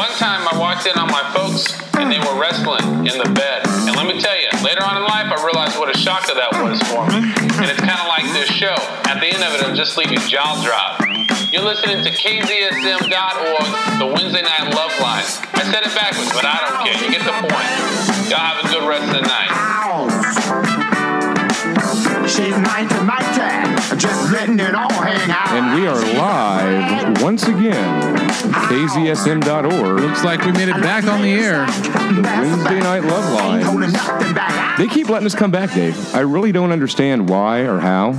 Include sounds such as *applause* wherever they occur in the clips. walked in on my folks and they were wrestling in the bed. And let me tell you, later on in life, I realized what a shocker that was for me. And it's kind of like this show. At the end of it, I'm just leaving jaw drop. You're listening to KZSM.org, the Wednesday Night Love Line. I said it backwards, but I don't care. You get the point. Y'all have a good rest of the night. She's 19, 19, just letting it all hang out. And we are live once again. KZSM.org. Looks like we made it back on the air. Wednesday Night Love Line. They keep letting us come back, Dave. I really don't understand why or how.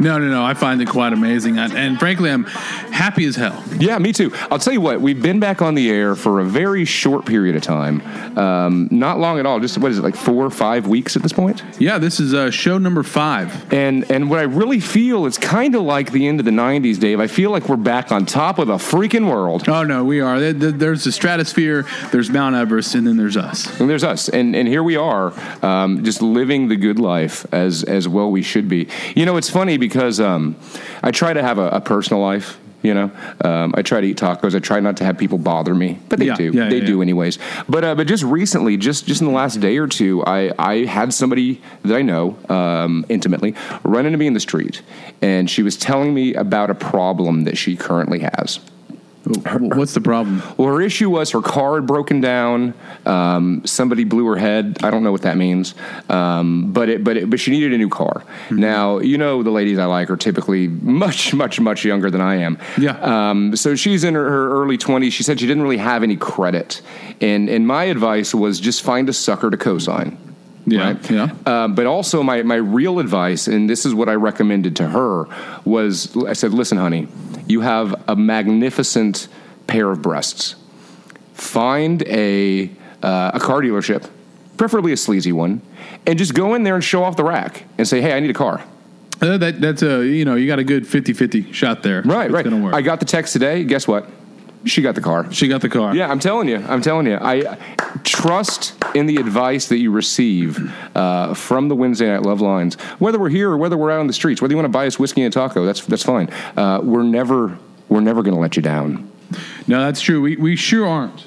No, no, no. I find it quite amazing. I, and frankly, I'm happy as hell. Yeah, me too. I'll tell you what, we've been back on the air for a very short period of time. Um, not long at all. Just, what is it, like four or five weeks at this point? Yeah, this is uh, show number five. And and what I really feel, it's kind of like the end of the 90s, Dave. I feel like we're back on top of the freaking world. Oh, no, we are. There- there- There's the stratosphere, there's Mount Everest, and then there's us. And there's us, and and here we are, um, just living the good life as as well we should be. You know, it's funny because um, I try to have a, a personal life. You know, um, I try to eat tacos. I try not to have people bother me, but they Yeah, do. yeah, they yeah, do yeah. anyways. But uh, but just recently, just just in the last day or two, I I had somebody that I know um, intimately run into me in the street, and she was telling me about a problem that she currently has. Oh, What's the problem? Well, her issue was her car had broken down. Um, somebody blew her head. I don't know what that means, um, but it, but it, but she needed a new car. Now you know the ladies I like are typically much much much younger than I am. Yeah. Um, so she's in her, her early twenties. She said she didn't really have any credit, and and my advice was just find a sucker to cosign. Yeah, yeah. Uh, but also, my, my real advice, and this is what I recommended to her, was I said, listen, honey, you have a magnificent pair of breasts. Find a, uh, a car dealership, preferably a sleazy one, and just go in there and show off the rack and say, hey, I need a car. Uh, that, that's a, you know, you got a good 50 50 shot there. Right, it's right. Gonna work. I got the text today. Guess what? She got the car. she got the car. Yeah, I'm telling you. I'm telling you. I trust in the advice that you receive uh, from the Wednesday Night Love Lines, whether we're here or whether we're out on the streets, whether you want to buy us whiskey and a taco, that's that's fine. Uh, we're never we're never going to let you down. No, that's true. We, we sure aren't.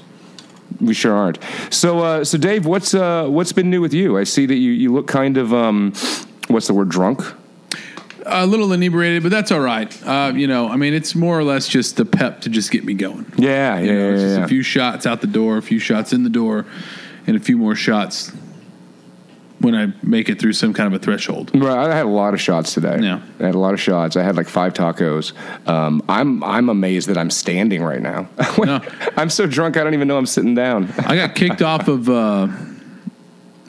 We sure aren't. So, uh, so Dave, what's uh, what's been new with you? I see that you you look kind of um, what's the word drunk. A little inebriated, but that's all right. Uh, you know, I mean, it's more or less just the pep to just get me going. Yeah, You yeah, know, yeah, it's just yeah. a few shots out the door, a few shots in the door, and a few more shots when I make it through some kind of a threshold. Right, I had a lot of shots today. Yeah. I had a lot of shots. I had like five tacos. Um, I'm I'm amazed that I'm standing right now. *laughs* No. I'm so drunk I don't even know I'm sitting down. I got kicked off of uh,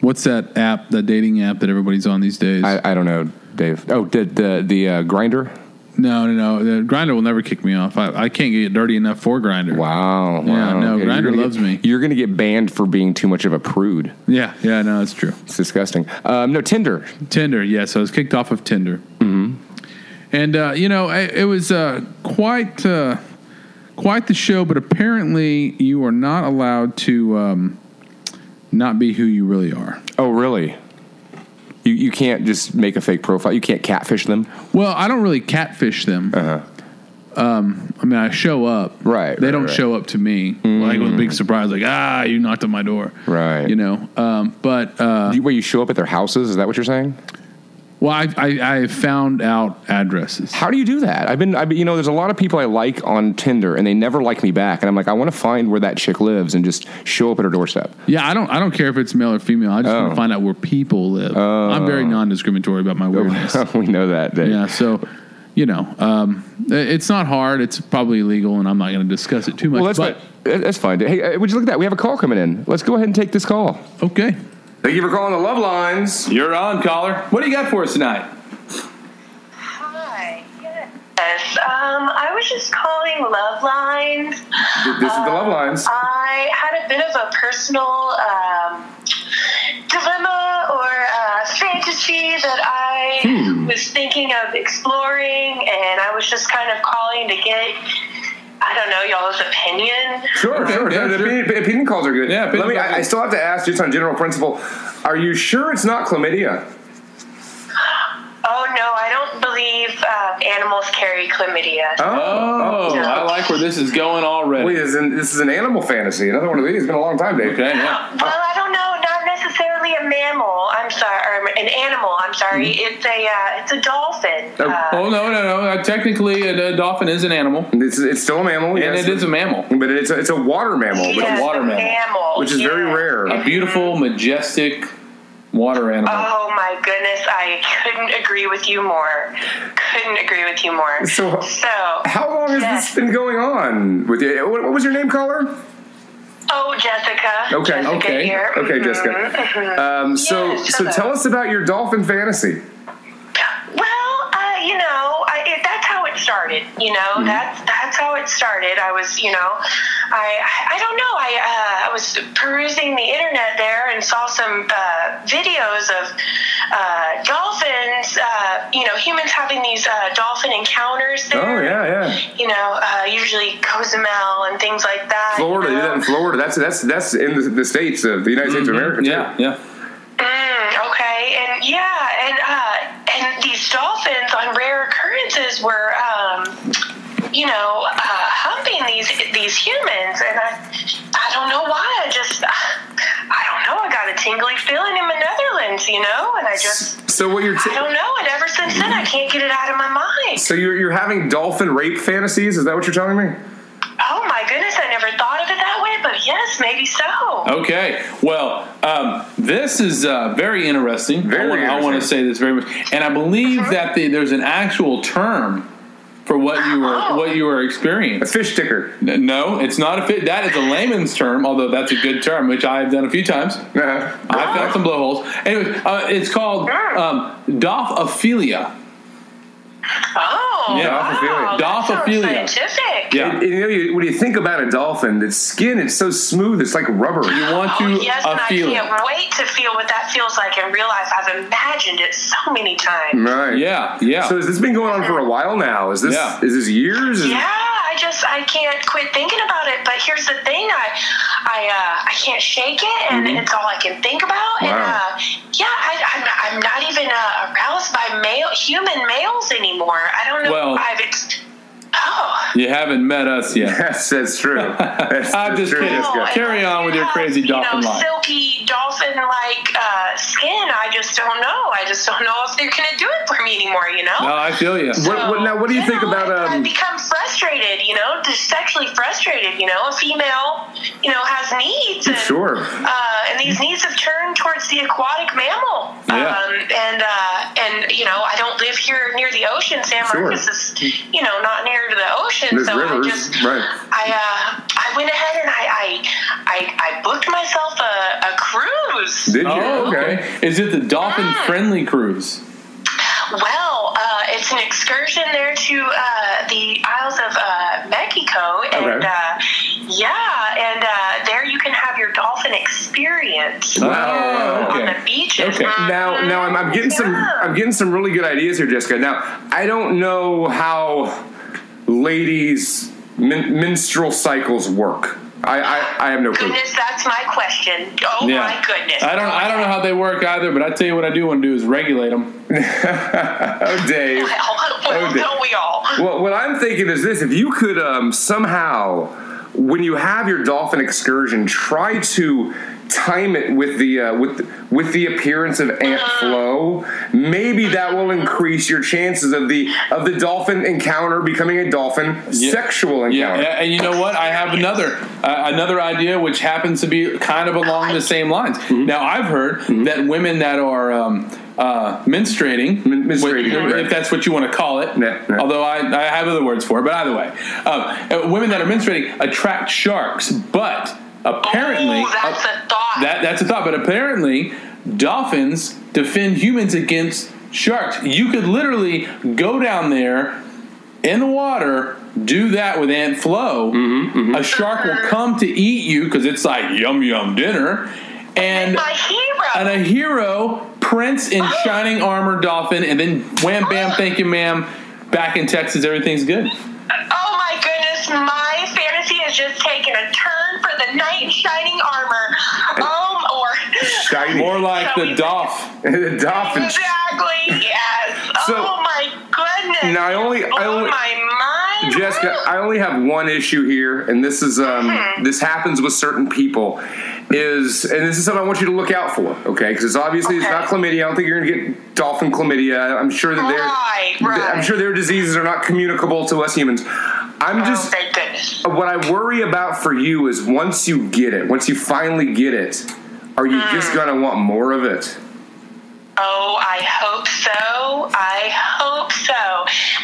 what's that app, that dating app that everybody's on these days? I, I don't know, Dave. Oh, the the the uh, grinder. no, no, no. Grinder will never kick me off. I, I can't get dirty enough for Grinder. Wow. Yeah, wow. no, you're Grindr gonna loves get, me. You're gonna get banned for being too much of a prude. Yeah, yeah, no, that's true. It's disgusting. Um, no, Tinder. Tinder, yes, I was kicked off of Tinder. Mm-hmm. And uh, you know, I, it was uh, quite uh, quite the show. But apparently, you are not allowed to um, not be who you really are. Oh, really? You you can't just make a fake profile. You can't catfish them. Well, I don't really catfish them. Uh-huh. Um, I mean, I show up. Right, They right, don't right. show up to me like with a big surprise, like ah, you knocked on my door. Right. You know. Um, but uh, You, where you show up at their houses? Is that what you're saying? well, I, I I found out addresses. How do you do that? I've been, I've been, you know, there's a lot of people I like on Tinder, and they never like me back. And I'm like, I want to find where that chick lives and just show up at her doorstep. Yeah, I don't. I don't care if it's male or female. I just want Oh. to find out where people live. I'm very non-discriminatory *laughs* about my Oh, weirdness. we know that. Dave. yeah, so you know, um, it- it's not hard. It's probably illegal, and I'm not going to discuss it too much. Well, that's but fine. That's fine. Hey, uh, would you look at that? We have a call coming in. Let's go ahead and take this call. okay. Thank you for calling the Love Lines. You're on, caller. What do you got for us tonight? Hi. Yes. Um, I was just calling Love Lines. This is the Love Uh, Lines. I had a bit of a personal um, dilemma or uh, fantasy that I was thinking of exploring, and I was just kind of calling to get, I don't know, y'all's opinion. Sure, sure. yeah, the sure. Opinion, opinion calls are good. Yeah, opinion Let me. calls are I, I good. still have to ask, just on general principle, are you sure it's not chlamydia? Oh, no, I don't believe um, uh, animals carry chlamydia. Oh, Oh, Yeah. I like where this is going already. Wait, Oh, is in, this is an animal fantasy. Another one of these. It's been a long time, Dave. Okay, yeah. Well, I don't know. Not necessarily a mammal. I'm sorry, or an animal. I'm sorry. Mm-hmm. It's a uh, it's a dolphin. Uh, Oh no, no, no! Uh, technically, a, a dolphin is an animal, and It's, it's still a mammal, yes. it is a mammal. But it's a, it's a water mammal, which, yes, water a mammal, which is very yes. rare. A beautiful, majestic water animal. Oh my goodness, I couldn't agree with you more. Couldn't agree with you more. So- so How long has yes. this been going on with you? What, what was your name, caller? Oh, Jessica. Okay, Jessica okay, Here. Okay, Mhm. Jessica. Um, so, Yes, so hello. tell us about your dolphin fantasy. Well, uh, you know, I, it, that's how it started. You know, Mm-hmm. that's that's how it started. I was, you know, I I don't know. I uh, I was perusing the internet there and saw some uh, videos of uh, dolphins. Uh, you know, humans having these uh, dolphin encounters there. Oh yeah, yeah. You know, uh, usually Cozumel and things like that. you Florida, they do know? that in Florida. That's that's that's in the, the states of the United States of America. too. Yeah, yeah. Mm, okay, and yeah, and uh, and these dolphins on rare occurrences were, um, you know, uh, humping these these humans, and I, I don't know why. I just, I don't know. I got a tingly feeling in my Netherlands, you know, and I just, So what you're t- I don't know. And ever since then, I can't get it out of my mind. so you're you're having dolphin rape fantasies? Is that what you're telling me? Oh my goodness, I never thought of it that way, but yes, maybe so. Oh, Okay. Well, um, this is uh, very interesting. Very I wanna- I want to interesting. say this very much, and I believe that the, there's an actual term for what you were Oh. what you were A experiencing. fish *laughs* ticker. N- No, it's not a fit. That is a layman's term, although that's a good term, which I have done a few times. Uh, I found some blowholes. Anyway, uh, it's called um, dophophilia. Oh, Yeah, dophophilia. wow, that sounds Dophophilia. Scientific. Yeah. and you know, you, when you think about a dolphin, its skin it's so smooth, it's like rubber. You want to Oh, yes, and I ophelia. can't wait to feel what that feels like in real life. I've imagined it so many times. Right. Yeah, yeah. So has this been going on for a while now? Is this Yeah. is this years? Is- Yeah, I just I can't quit thinking about it. But here's the thing, I I uh, I can't shake it, and Mm-hmm. it's all I can think about. And Wow. uh, yeah, I, I'm I'm not even uh, aroused by male human males anymore. I don't know. Well- if I've ex- oh. you haven't met us yet. *laughs* Yes, that's *laughs* true. That's, I'm that's just true. kidding. That's good. oh, and Carry if on you with your have, crazy you dolphin know, line. Silky dolphin-like uh, skin. I just don't know. I just don't know if they're gonna do it for me anymore. You know. No, I feel you. What- what- now, what do you So, think about, know, I- I um, become frustrated, you know, just sexually frustrated. You know, a female, you know, has needs. And, Sure. Uh, and these needs have turned towards the aquatic mammal. Yeah. Um, and uh, and you know, I don't live here near the ocean. San Sure. Marcos is, you know, not near to the ocean. There's so rivers, I just, right. I uh, I went ahead and I I I, I booked myself a, a cruise. Did you? Oh, okay. okay. Is it the dolphin Mm. friendly cruise? Oh, Well, uh, it's an excursion there to uh, the Isles of uh, Mexico, and Okay. uh, yeah, and uh, there you can have your dolphin experience Wow. Oh, on okay. the beaches. Mm-hmm. Okay. Now, now I'm, I'm getting some Yeah. I'm getting some really good ideas here, Jessica. Now I don't know how ladies' min- menstrual cycles work. I, I, I have no clue. goodness, that's my question. Oh Yeah. my goodness! I don't. I don't know how they work either. But I tell you what, I do want to do is regulate them. Oh, Dave. *laughs* Well, well, Oh, dear. don't we all? Well, what I'm thinking is this: if you could um, somehow, when you have your dolphin excursion, try to time it with the uh, with the, with the appearance of Aunt Flo. Maybe that will increase your chances of the of the dolphin encounter becoming a dolphin sexual Yeah. encounter. yeah, And you know what? I have another uh, another idea, which happens to be kind of along the same lines. Mm-hmm. Now I've heard that women that are um, uh, menstruating, Men- menstruating, if- right. if that's what you want to call it. Yeah, yeah. Although I, I have other words for it. But either way, um, uh, women that are menstruating attract sharks. But apparently, Ooh, that's uh, a thought. That that's a thought, but apparently dolphins defend humans against sharks. You could literally go down there in the water, do that with Aunt Flo. A shark will come to eat you because it's like yum yum dinner, and my hero. and a hero prince *gasps* in shining armor dolphin, and then wham bam, thank you ma'am. Back in Texas, everything's good. oh my goodness, my fantasy has just taken a turn for the knight in shining armor. Um, or Shiny. More like Shall the we- *laughs* dolphin. the dolphin. Exactly. Yes. So- oh my goodness. Now, I only- I Blow only- my mind. in the Jessica, world. I only have one issue here, and this is um, this happens with certain people. Is and this is something I want you to look out for, okay? Because it's obviously it's not Okay. chlamydia. I don't think you're going to get dolphin chlamydia. I'm sure that they're Right, I'm right. sure their diseases are not communicable to us humans. I'm Oh, just thank goodness. what I worry about for you is once you get it, once you finally get it, are you just Hmm. going to want more of it? Oh, I hope so. I hope so.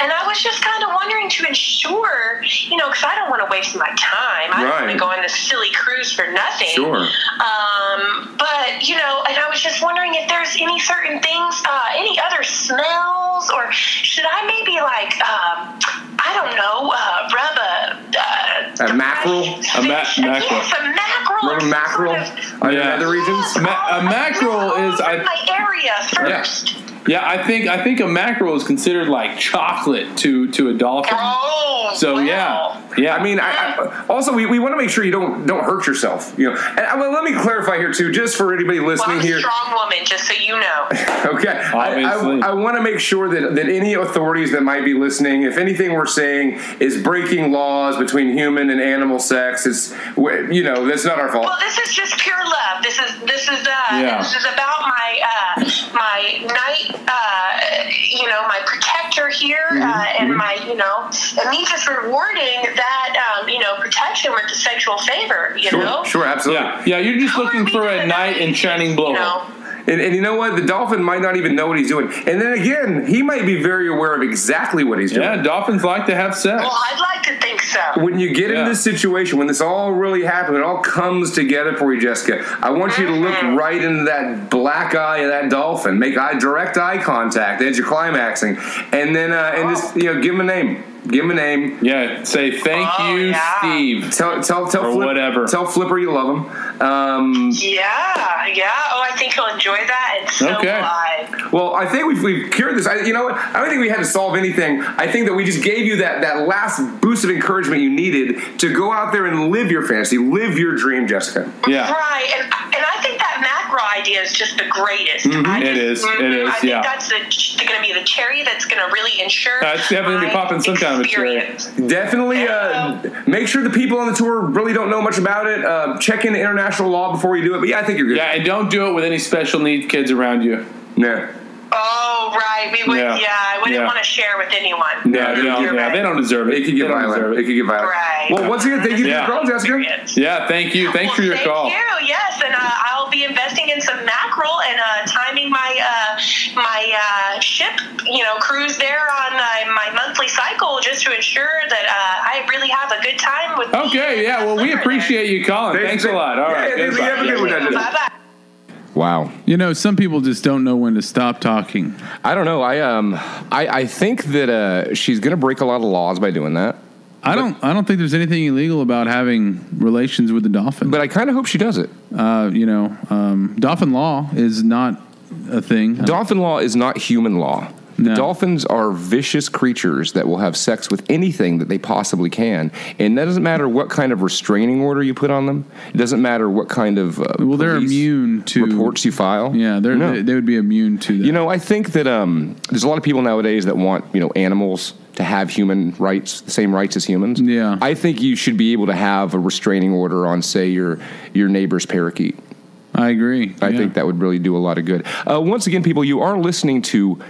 And I was just kind of wondering to ensure, you know, because I don't want to waste my time. I don't want Right. to go on this silly cruise for nothing. Sure. Um, but you know, and I was just wondering if there's any certain things, uh, any other smells, or should I maybe like, um, I don't know, uh, rub a, uh, A mackerel? A ma- fish- mackerel. Yes, a mackerel. or Remember some mackerel? Sort of, Are Yeah. there other reasons? Yes, Ma- a all- mackerel all is- I- in my area first. Yeah, I think I think a mackerel is considered like chocolate to to a dolphin. Oh, So wow. yeah, yeah. I mean, I, I, also we, we want to make sure you don't don't hurt yourself. You know, and I, well, let me clarify here too, just for anybody Well, listening I'm a here. strong woman, just so you know. Okay, I, Obviously. I, I want to make sure that that any authorities that might be listening, if anything we're saying is breaking laws between human and animal sex, it's we- you know that's not our fault. Well, this is just pure love. This is this is uh, Yeah. this is about my uh, my knight, uh, you know, my protector here, Mm-hmm. uh, and my you know, and me just rewarding that um, you know protection with the sexual favor. You know, Sure, sure, absolutely. yeah, yeah. You're just looking for a knight in shining you blowhole. know. And, and you know what? The dolphin might not even know what he's doing. And then again, he might be very aware of exactly what he's doing. Yeah, dolphins like to have sex. Well, I'd like to think so. when you get Yeah. in this situation, when this all really happened, it all comes together for you, Jessica. I want you to look Mm-hmm. right into that black eye of that dolphin, make eye direct eye contact as you're climaxing, and then uh, and Oh. just you know give him a name, give him a name. Yeah, say thank Oh, you, yeah. Steve. Tell tell tell Or Flip- whatever. Tell Flipper you love him. Um, Yeah, yeah. Oh, I think he'll enjoy that, and so Okay. will I. well, I think we've, we've cured this. I, you know what? I don't think we had to solve anything. I think that we just gave you that that last boost of encouragement you needed to go out there and live your fantasy, live your dream, Jessica. Yeah. Right, and and I think that macro idea is just the greatest. I It just, is, it mhm, is, I think yeah. that's the, going to be the cherry that's going to really ensure. Uh, it's definitely my popping some kind of a cherry. experience. Definitely uh, make sure the people on the tour really don't know much about it. Uh, check into international law before you do it. But yeah, I think you're good. Yeah, and don't do it with any special need kids around you. No. Oh, right. We would. Yeah, Yeah, I wouldn't yeah. want to share with anyone. Yeah, No, they don't, you're yeah, right. they don't deserve it. It could get They don't deserve violent. it. It could get violent. Right. Well, once again, thank you Yeah. for your call, Jessica. Experience. Yeah, thank you. Thanks Well, for your thank call. you. Yes, and uh, I'll be investing in some mackerel and uh, timing my uh, my uh, ship, you know, cruise there on uh, my monthly cycle, just to ensure that uh, I really have a good time with. Okay, yeah, well, we appreciate you calling. Thanks, a lot. All Yeah, right. yeah, goodbye. yeah, have a good one, Jessica. Bye bye. Wow. You know, some people just don't know when to stop talking. I don't know. I um, I, I think that uh, she's gonna break a lot of laws by doing that. I don't. I don't think there's anything illegal about having relations with the dolphin. But I kind of hope she does it. uh, you know, um, dolphin law is not a thing. Dolphin law is not human law. No. The dolphins are vicious creatures that will have sex with anything that they possibly can, and that doesn't matter what kind of restraining order you put on them. It doesn't matter what kind of uh, well, they're police immune to reports you file. Yeah, they're, No. they, they would be immune to that. You know, I think that um, there's a lot of people nowadays that want you know animals to have human rights, the same rights as humans. Yeah. I think you should be able to have a restraining order on, say, your your neighbor's parakeet. I agree. I yeah. think that would really do a lot of good. Uh, once again, people, you are listening to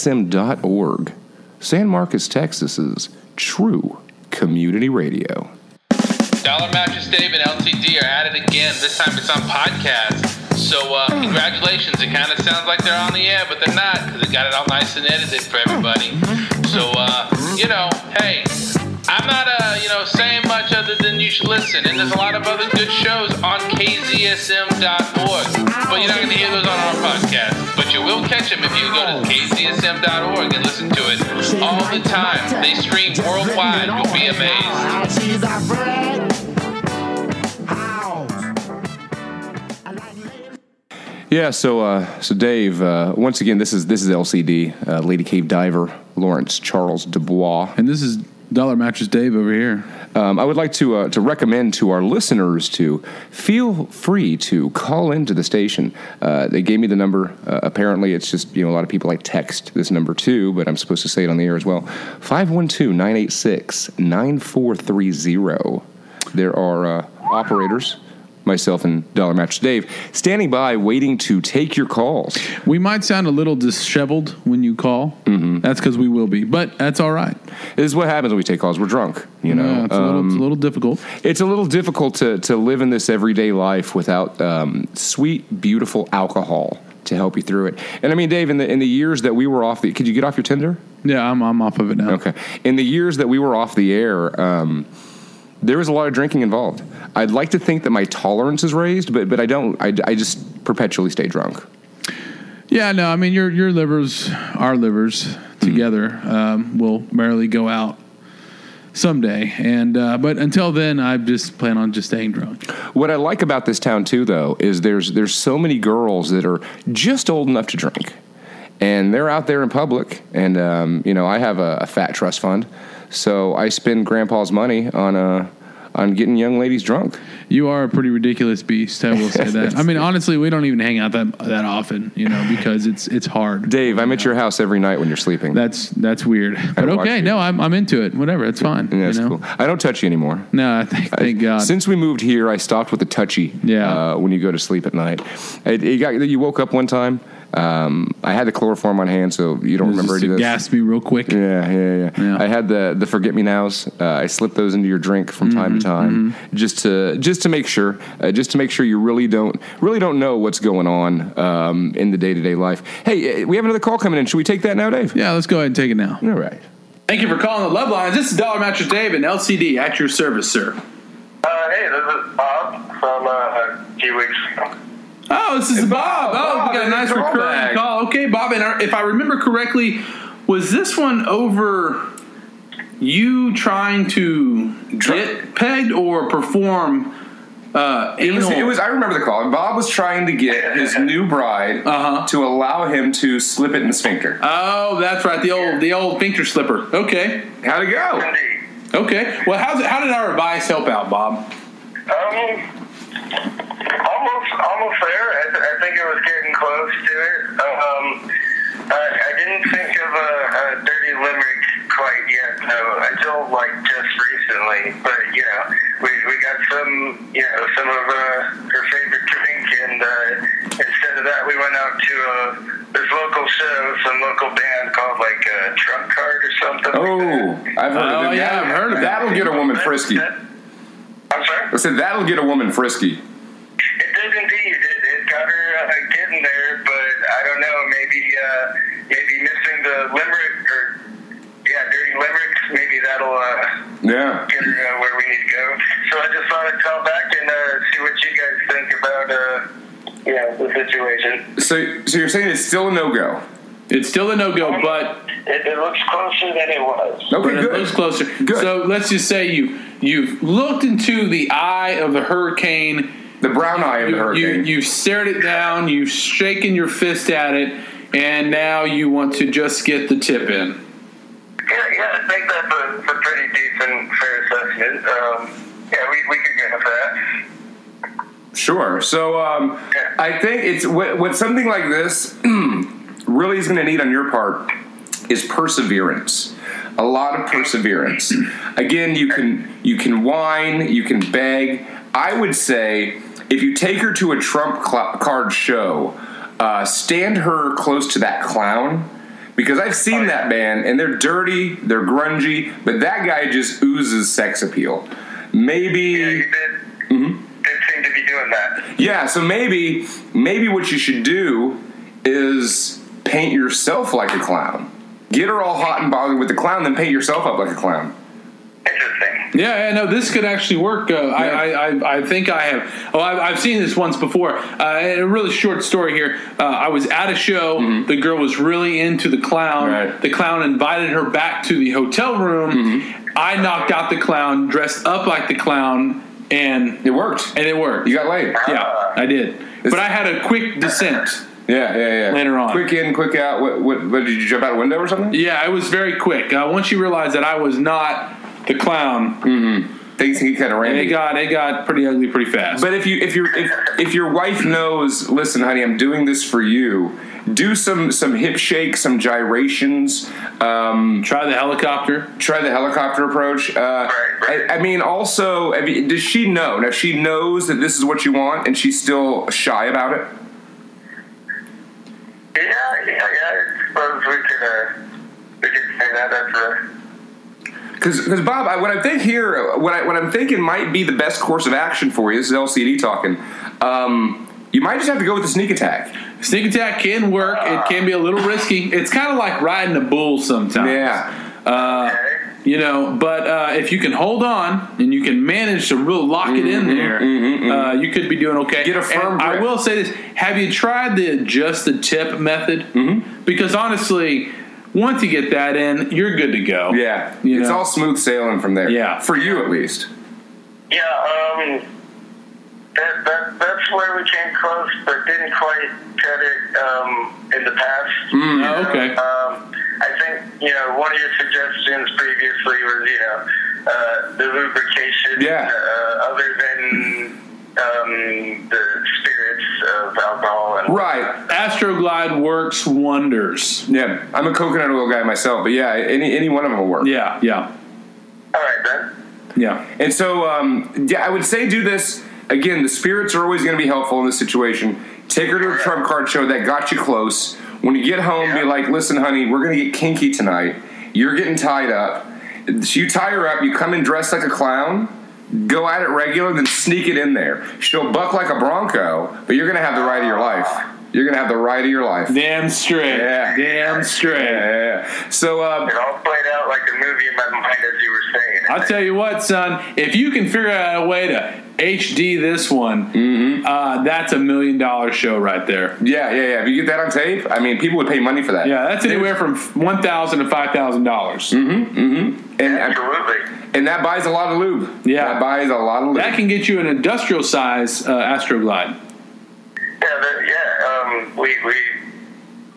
KZSM.org, San Marcos, Texas's true community radio. Dollar Mattress Dave and LTD are at it again. This time it's on podcast. So uh, congratulations. It kind of sounds like they're on the air, but they're not because they got it all nice and edited for everybody. So uh, you know, hey, I'm not uh, you know saying much other than you should listen. And there's a lot of other good shows on KZSM.org, but you're not going to hear those on our podcast. But you will catch them if you go to KZSM.org and listen to it all the time. They stream worldwide. You'll be amazed. She's a friend. House. I like ladies. Yeah, so uh, so Dave, uh, once again, this is this is LCD, uh, Lady Cave Diver, Lawrence Charles Dubois. And this is Dollar Mattress Dave over here. Um, I would like to uh, to recommend to our listeners to feel free to call into the station. Uh, they gave me the number. Uh, apparently, it's just you know a lot of people like text this number too, but I'm supposed to say it on the air as well. 512-986-9430. There are uh, operators. Myself and Dollar Mattress Dave standing by, waiting to take your calls. We might sound a little disheveled when you call. Mm-hmm. That's because we will be, but that's all right. This is what happens when we take calls. We're drunk, you know. Yeah, it's, a little, it's a Um, little difficult. It's a little difficult to, to live in this everyday life without um, sweet, beautiful alcohol to help you through it. And I mean, Dave, in the in the years that we were off the, could you get off your Tinder? Yeah, I'm, I'm off of it now. Okay, in the years that we were off the air, um, there was a lot of drinking involved. I'd like to think that my tolerance is raised, but but I don't. I, I just perpetually stay drunk. Yeah, no, I mean your your livers, our livers together um, will merrily go out someday, and uh, but until then, I just plan on just staying drunk. What I like about this town too, though, is there's there's so many girls that are just old enough to drink, and they're out there in public. And um, you know, I have a, a fat trust fund, so I spend Grandpa's money on uh on getting young ladies drunk. You are a pretty ridiculous beast. I *laughs* will say that. I mean, honestly, we don't even hang out that that often, you know, because it's it's hard. Dave, I'm at your house every night when you're sleeping. That's that's weird, but watch okay. you. No, I'm I'm into it. Whatever, it's fine. Yeah, that's you know? cool. I don't touch you anymore. No, thank, thank I- God. Since we moved here, I stopped with the touchy. Yeah. Uh, when you go to sleep at night, it, it got you woke up one time. Um, I had the chloroform on hand, so you don't remember just any to of this. gas me real quick. Yeah, yeah, yeah, Yeah. I had the the forget me nows. Uh, I slip those into your drink Mm-hmm, from time to time, just to just to make sure, uh, just to make sure you really don't really don't know what's going on um, in the day to day life. Hey, uh, we have another call coming in. Should we take that now, Dave? Yeah, let's go ahead and take it now. All right. Thank you for calling the Love Lines. This is Dollar Mattress Dave and LCD at your service, sir. Uh, hey, this is Bob from uh, G Weeks. Oh, this is Bob. Oh, Bob, we got a nice call recurring back. call. Okay, Bob, and I- if I remember correctly, was this one over you trying to get pegged or perform uh, It was, anal? it was. I remember the call. Bob was trying to get his new bride Uh-huh. to allow him to slip it in the sphincter. oh, that's right, the old the old finger slipper. Okay, How'd it go? Indeed. okay. Well, how's, how did our advice help out, Bob? Um, almost, almost there. I, th- I think it was getting close to it. Um, I, I didn't think of a, a dirty limerick quite yet, though, until like just recently. But you know, we we got some, you know, some of uh, her favorite drink, and uh, instead of that, we went out to uh, this local show, some local band called like uh, Trump Card or something. Oh, like that. I've heard Oh, of it. yeah, I've heard of it. That'll get a woman That- frisky. that- I'm sorry. I said that'll get a woman frisky. It did indeed. It, it got her uh, getting there, but I don't know. Maybe uh, maybe missing the limerick or yeah, dirty limericks. Maybe that'll uh, Yeah. get her uh, where we need to go. So I just thought I'd call back and uh, see what you guys think about uh, you know the situation. So, so you're saying it's still a no go? It's still a no go, but It, it looks closer than it was. Okay, But it looks closer. Good. So let's just say you you've looked into the eye of the hurricane. The brown eye of the You, hurricane. you have stared it down. You've shaken your fist at it, and now you want to just get the tip in. Yeah, yeah, I think that's a, a pretty decent fair assessment. Um, yeah, we, we could go with that. sure. So, um, I think it's what, what something like this *clears throat* really is going to need on your part is perseverance. A lot of perseverance. Again, you can you can whine, you can beg. I would say if you take her to a trump cl- card show, uh, stand her close to that clown. Because I've seen that band, and they're dirty, they're grungy, but that guy just oozes sex appeal. Maybe Yeah, you did. Did seem to be doing that. Yeah, so maybe maybe what you should do is paint yourself like a clown. Get her all hot and bothered with the clown, then paint yourself up like a clown. Interesting. Yeah, yeah, no, this could actually work. Uh, I, I, I, I think I have. Oh, I've, I've seen this once before. Uh, and a really short story here. Uh, I was at a show. The girl was really into the clown. Mm-hmm. Right. The clown invited her back to the hotel room. Mm-hmm. I knocked out the clown, dressed up like the clown, and It worked. and it worked. You got laid. yeah, I did. But I had a quick descent. Yeah, yeah, yeah. Later on. Quick in, quick out. What, what, what did you jump out a window or something? Yeah, it was very quick. Uh, once you realized that I was not the clown, Things can get kind of and it randy. got it got pretty ugly pretty fast. Mm-hmm. But if you if you if, if your wife knows, listen, honey, I'm doing this for you. Do some some hip shakes, some gyrations. Um, Try the helicopter. try the helicopter approach. Uh, right. I, I mean, also, I mean, does she know? Now, if she knows that this is what you want, and she's still shy about it. Yeah, yeah, yeah. I suppose we could, uh, we could say that. That's a. Because Bob, I, what I think here, what I what I'm thinking might be the best course of action for you. This is LCD talking. Um, you might just have to go with the sneak attack. Sneak attack can work. It can be a little risky. It's kind of like riding a bull sometimes. Yeah, Uh, you know, but uh, if you can hold on and you can manage to really lock it in there, Uh, you could be doing okay. Mm-hmm, Get a firm And I grip. will say this: Have you tried the just the tip method? Mm-hmm. Because honestly, once you get that in, you're good to go. yeah. You it's know. all smooth sailing from there. Yeah. for you at least. Yeah, um, that, that that's where we came close, but didn't quite cut it um, in the past. Oh, okay. Um, I think you know one of your suggestions previously was you know uh, the lubrication, Yeah. uh, other than um, the spirits of alcohol and Right. Astroglide works wonders. Yeah, I'm a coconut oil guy myself, but yeah, any any one of them will work. Yeah, yeah, All right then. yeah. And so, um, yeah, I would say do this again. The spirits are always going to be helpful in this situation. Take her to a trump card show that got you close. When you get home, be like, "Listen, honey, we're going to get kinky tonight. You're getting tied up. You tie her up. You come in dressed like a clown." Go at it regular, then sneak it in there. She'll buck like a bronco, but you're gonna have the ride of your life. You're gonna have the ride of your life. Damn straight. Yeah. Damn straight. Yeah. So, uh, It all played out like a movie in my *laughs* mind as you were saying. it. I'll tell you what, son. If you can figure out a way to HD this one, uh, that's a million dollar show right there. Yeah, yeah, yeah. If you get that on tape, I mean, people would pay money for that. Yeah, that's anywhere from one thousand to five thousand dollars. and uh, Absolutely. and that buys a lot of lube. Yeah. that buys a lot of lube. That can get you an industrial size uh, Astroglide. Yeah, that, yeah. Um, we we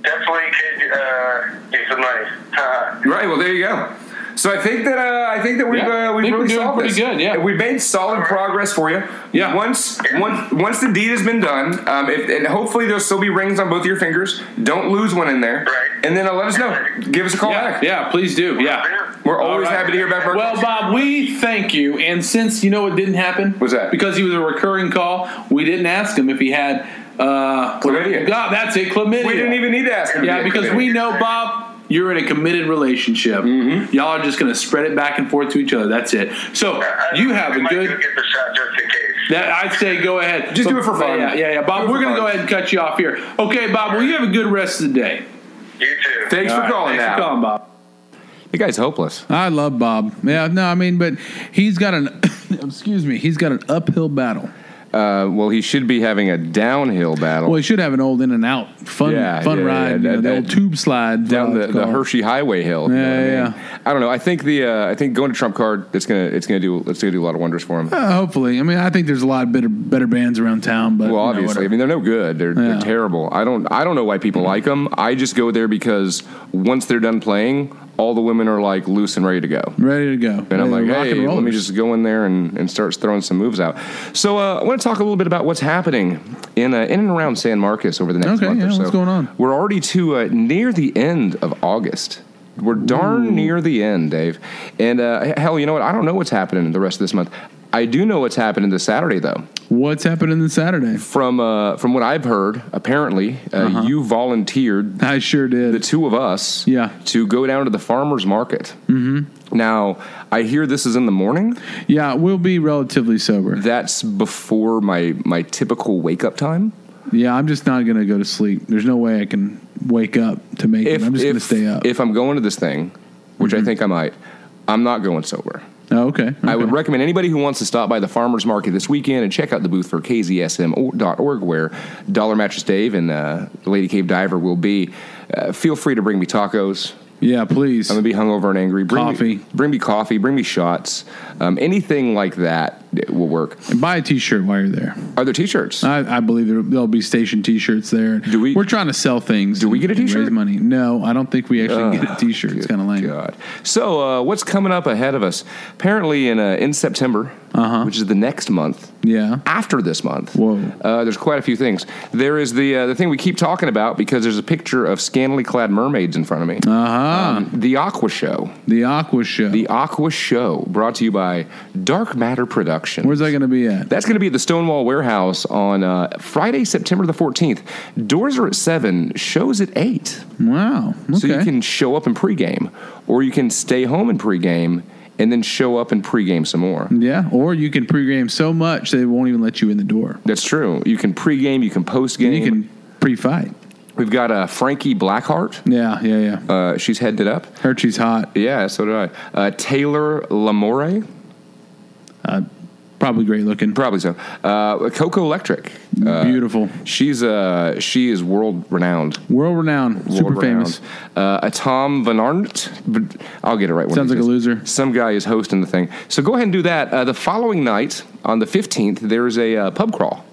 definitely could uh, use the money. Uh, right. Well, there you go. So I think that uh, I think that we've Yeah, uh, I we've think really we're doing solved pretty this. good, yeah. we made solid progress for you. Yeah. Once once once the deed has been done, um, if, and hopefully there'll still be rings on both of your fingers. Don't lose one in there. Right. And then uh, let us know. Give Oh, us a call Yeah, back. yeah, please do. Yeah. We're always All right. happy to hear back. from- Well, Bob, we thank you. And since you know it didn't happen, What's that? Because he was a recurring call, we didn't ask him if he had uh, Chlamydia. God, that's it, chlamydia. we didn't even need to ask. him to Yeah, be a because committee. we know, Bob, you're in a committed relationship. Mm-hmm. Y'all are just going to spread it back and forth to each other. That's it. So I- you have we a might good. go get the shot just in case. That I'd say go ahead. Just But- do it for fun. Yeah, yeah, yeah. Do Bob, it we're for going fun. to go ahead and cut you off here. Okay, Bob. Well, you have a good rest of the day. You too. Thanks All for right, calling. Thanks now. for calling, Bob. The guy's hopeless. I love Bob. Yeah, no, I mean, but he's got an *coughs* excuse me, he's got an uphill battle. Uh, well, he should be having a downhill battle Well, he should have an old in and out fun Yeah, fun yeah, yeah, ride, you that- know, the that- old tube slide down the, whatever the it's called. Hershey Highway hill. you know what Yeah, I yeah. mean? I don't know. I think the uh, I think going to Trump card it's gonna it's gonna do it's gonna do a lot of wonders *laughs* for him. Uh, hopefully, I mean, I think there's a lot of better better bands around town, but Well, you know, obviously, I mean they're no good. They're, Yeah. they're terrible. I don't I don't know why people like 'em. like them. I just go there because once they're done playing, all the women are like loose and ready to go. whatever. ready to go. And I'm Ready like, to rock hey, and roll. let me just go in there and, and start throwing some moves out. So uh, I want to talk a little bit about what's happening in uh, in and around San Marcos over the next Okay, month yeah, or so. what's going on? We're already to uh, near the end of August. We're darn near the end, Dave. And uh, hell, you know what? I don't know what's happening the rest of this month. I do know what's happening this Saturday, though. What's happening this Saturday? From uh, from what I've heard, apparently uh, Uh-huh. you volunteered I sure did. the two of us Yeah. to go down to the farmers market. Mm-hmm. Now I hear this is in the morning. yeah, we'll be relatively sober. That's before my my typical wake up time. yeah, I'm just not gonna go to sleep. There's no way I can wake up to make it. I'm just gonna if- stay up. Mm-hmm. If I'm going to this thing, which I think I might, I'm not going sober. oh, okay, I would okay. recommend anybody who wants to stop by the farmers market this weekend and check out the booth for KZSM.org, where Dollar Mattress Dave and uh, Lady Cave Diver will be. Uh, feel free to bring me tacos. Yeah, please. I'm gonna be hungover and angry. Bring Coffee. me, bring me coffee. Bring me shots. Um, anything like that will work. And buy a T-shirt while you're there. Are there T-shirts? I, I believe there, there'll be station T-shirts there. Do we- We're trying to sell things. Do we get a and raise T-shirt? money? No, I don't think we actually get a T-shirt. It's Good kind of lame. God. So, uh, what's coming up ahead of us? Apparently, in uh, in September, which is the next month Yeah. after this month. Uh-huh. Whoa. Uh, there's quite a few things. There is the uh, the thing we keep talking about because there's a picture of scantily clad mermaids in front of me. Um, Uh huh. the Aqua Show. the Aqua Show. The Aqua Show, brought to you by Dark Matter Productions. Where's that going to be at? That's going to be at the Stonewall Warehouse on uh, Friday, September the 14th. Doors are at 7, shows at 8. Wow. Okay. So you can show up and pregame, or you can stay home and pregame and then show up and pregame some more. yeah, or you can pregame so much they won't even let you in the door. That's true. You can pregame, you can And postgame. you can pre-fight. We've got uh, Frankie Blackheart. Yeah, yeah, yeah. Uh, she's headed it up. Heard she's hot. Yeah, so did I. Uh, Taylor Lamore, Probably great looking. probably so. Uh, Coco Electric. Uh, Beautiful. She's uh, she is world renowned. World renowned. Super famous. Uh, a Tom Van Arndt. but I'll get it right. one of Sounds these like a days. loser. Some guy is hosting the thing. So go ahead and do that. Uh, the following night, on the 15th, there's a uh, pub crawl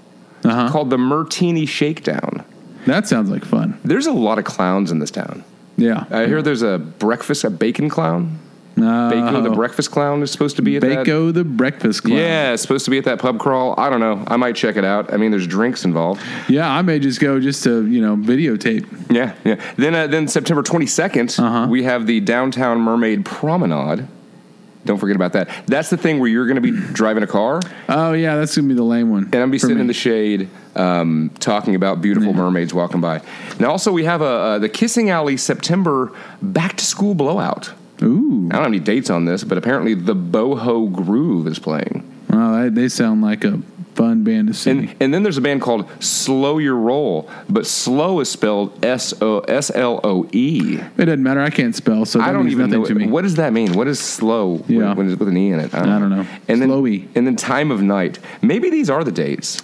Uh huh. called the Mertini Shakedown. That sounds like fun. There's a lot of clowns in this town. Yeah. I hear there's a breakfast, a bacon clown. Bacon, the Oh. breakfast clown, is supposed to be at that. Baco the Breakfast Club. Yeah, it's supposed to be at that pub crawl. I don't know. I might check it out. I mean, there's drinks involved. Yeah, I may just go just to, you know, videotape. Yeah, yeah. Then, uh, then September 22nd, Uh-huh. we have the Downtown Mermaid Promenade. Don't forget about that. That's the thing where you're going to be driving a car, Oh, yeah, that's going to be the lame one. and I'm be for sitting me. in the shade, um, talking about beautiful mermaids walking by. Now, also we have uh, uh, the Kissing Alley September Back to School Blowout. Ooh. I don't have any dates on this, but apparently the Boho Groove is playing. Wow, they, they sound like a fun band to see. And, and then there's a band called Slow Your Roll, but slow is spelled S O S L O E. it doesn't matter. I can't spell, so that I don't means even nothing know to me. what does that mean. What is slow Yeah. when, when it's with an e in it? I don't know. E. And then Slowy. and then time of night. Maybe these are the dates.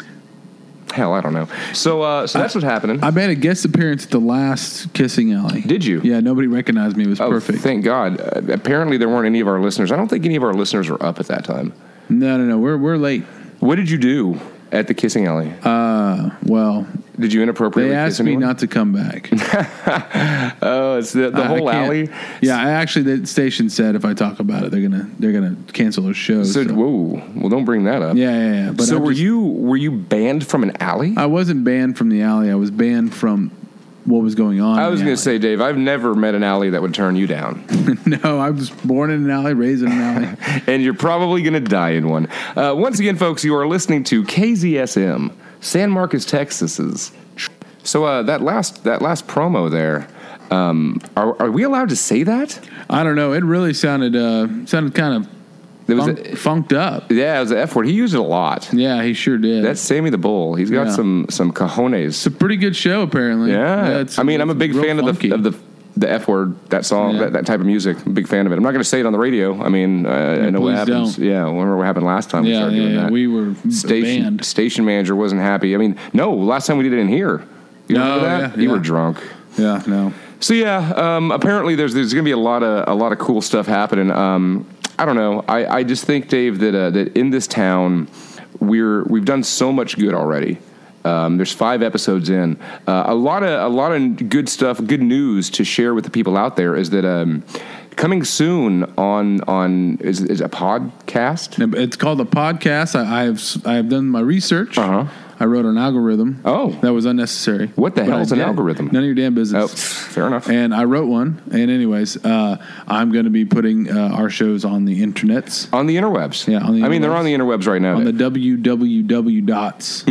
Hell, I don't know. So uh, so that's what's happening. I made a guest appearance at the last Kissing Alley. Did you? Yeah, nobody recognized me. It was Oh, perfect. Thank God. Uh, apparently, there weren't any of our listeners. I don't think any of our listeners were up at that time. no, no, no. We're, we're late. What did you do at the kissing alley? Uh, well, did you inappropriately they kiss asked me anyone? not to *laughs* come back. oh, it's the, the I- I whole can't- alley. Yeah, I actually the station said if I talk about it, they're gonna they're gonna cancel their show. So, so- whoa. Well, don't bring that up. yeah, yeah, yeah. But so I were just- you were you banned from an alley? I wasn't banned from the alley. I was banned from what was going on. I in was the going to say, Dave, I've never met an alley that would turn you down. alley. *laughs* no. I was born in an alley, raised in *laughs* an alley. and you're probably going to die in one. Uh, once again, folks, you are listening to KZSM, San Marcos, Texas's. So uh, that last that last promo there, um, are, are we allowed to say that? I don't know. It really sounded uh, sounded kind of There was funk, a, funked up. yeah, it was an F word. He used it a lot. Yeah, he sure did. That's Sammy the Bull. He's got Yeah. some some it's cojones. a pretty good show, apparently. Yeah, it's- I mean, I'm a it's big real fan of funky. the of the. The F word, that song, Yeah. that, that type of music. I'm a big fan of it. I'm not going to say it on the radio. I mean, uh, I know what please happens. don't. Yeah, remember what happened last time we yeah, started yeah, doing yeah. that. We were station banned. station manager wasn't happy. I mean, no, last time we did it in here. You Oh, remember that? yeah, you yeah. were drunk. Yeah, no. So yeah, um, apparently there's there's gonna be a lot of a lot of cool stuff happening. Um, I don't know. I, I just think Dave that uh, that in this town we're we've done so much good already. Um, there's five episodes in. Uh, a lot of a lot of good stuff, good news to share with the people out there is that um, coming soon on on is, is a podcast. It's called a podcast. I, I have s- I have done my research. Uh-huh. I wrote an algorithm. Oh. that was unnecessary. What the But hell I is an did it. algorithm? None of your damn Oh, business. fair enough. And I wrote one. And anyways, uh, I'm going to be putting uh, our shows on the internets On the interwebs. Yeah, on the I mean, they're interwebs. on the interwebs right now. on the www dots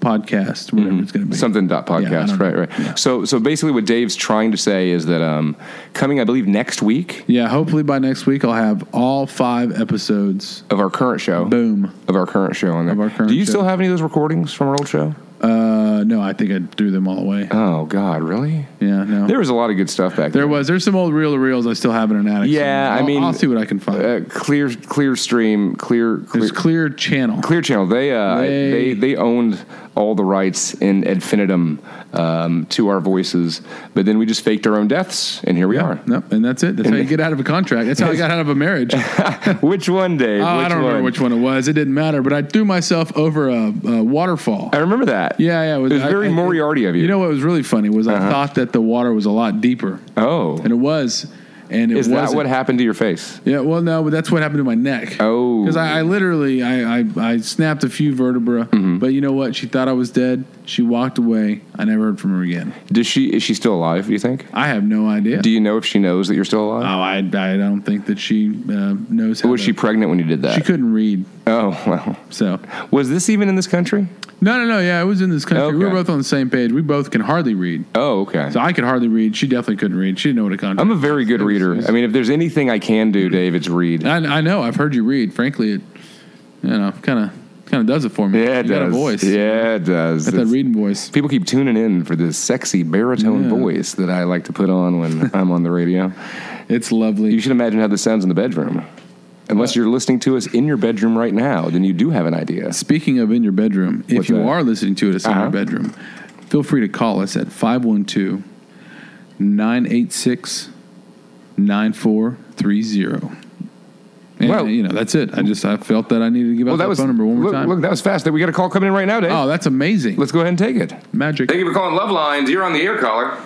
podcast whatever it's going to be. Mm-hmm. Something dot Yeah, I podcast, don't know. right, right. Yeah. So, so basically, what Dave's trying to say is that um, coming, I believe, next week Yeah, hopefully by next week I'll have all five episodes. of our current show, Boom. of our current show on there. Of our current Do you show. still have any of those recordings from our old show? Uh, no, I think I threw them all away. Oh God, really? Yeah, no. There was a lot of good stuff back There then. was. There's some old reel to reels I still have in an attic. Yeah, somewhere. I I'll- mean- I'll see what I can find. Uh, clear, clear stream, clear, clear, There's Clear Channel. Clear Channel. They, uh, They- they they owned all the rights in ad infinitum um, to our voices, but then we just faked our own deaths, and here we are. *laughs* No, and that's it. That's how you get out of a contract. That's how I got out of a marriage. Which one, Dave? Oh, I Which don't remember one? which one it was. It didn't matter, but I threw myself over a, a waterfall. I remember that. yeah, yeah. Uh, It was I- very I- Moriarty of you. Uh-huh. You know what was really funny was I thought that the water was a lot deeper, Oh, and it was. And it is wasn't. that what happened to your face? Yeah, well, no, but that's what happened to my neck. Oh. because I, I literally I, I I snapped a few vertebra, Mm-hmm. but you know what? She thought I was dead. She walked away. I never heard from her again. Does she is she still alive? Do you think? I have no idea. Do you know if she knows that you're still oh, alive? I I don't think that she uh, knows how. was to- she pregnant when you did that? She couldn't read, Oh well. so Was this even in this country? no, no, no. Yeah, it was in this country. We were Okay. both on the same page. We both can hardly read. Oh, okay. So I could hardly read. She definitely couldn't read. She didn't know what a contract. I'm a very good It's- reader. it's- I mean, if there's anything I can do, Dave, it's read. I, I know. I've heard you read. Frankly, it you know kind of kind of does it for me. Yeah, it you does. Got a voice. Yeah, it does. Got that It's- reading voice. People keep tuning in for this sexy baritone Yeah. voice that I like to put on when *laughs* I'm on the radio. It's lovely. You should imagine how this sounds in the bedroom. Unless you're listening to us in your bedroom right now, then you do have an idea. Speaking of in your bedroom, if What's you that? are listening to us in your Uh-huh. bedroom, feel free to call us at 512 986 9430. Well- Well, you know, that's it. I just I felt that I needed to give out Well, that, that was phone number one more look, time. look, that was fast. We got a call coming in right now, Dave. oh, that's amazing. Let's go ahead and take it. Magic. Thank you for calling Love Lines. You're on the air caller.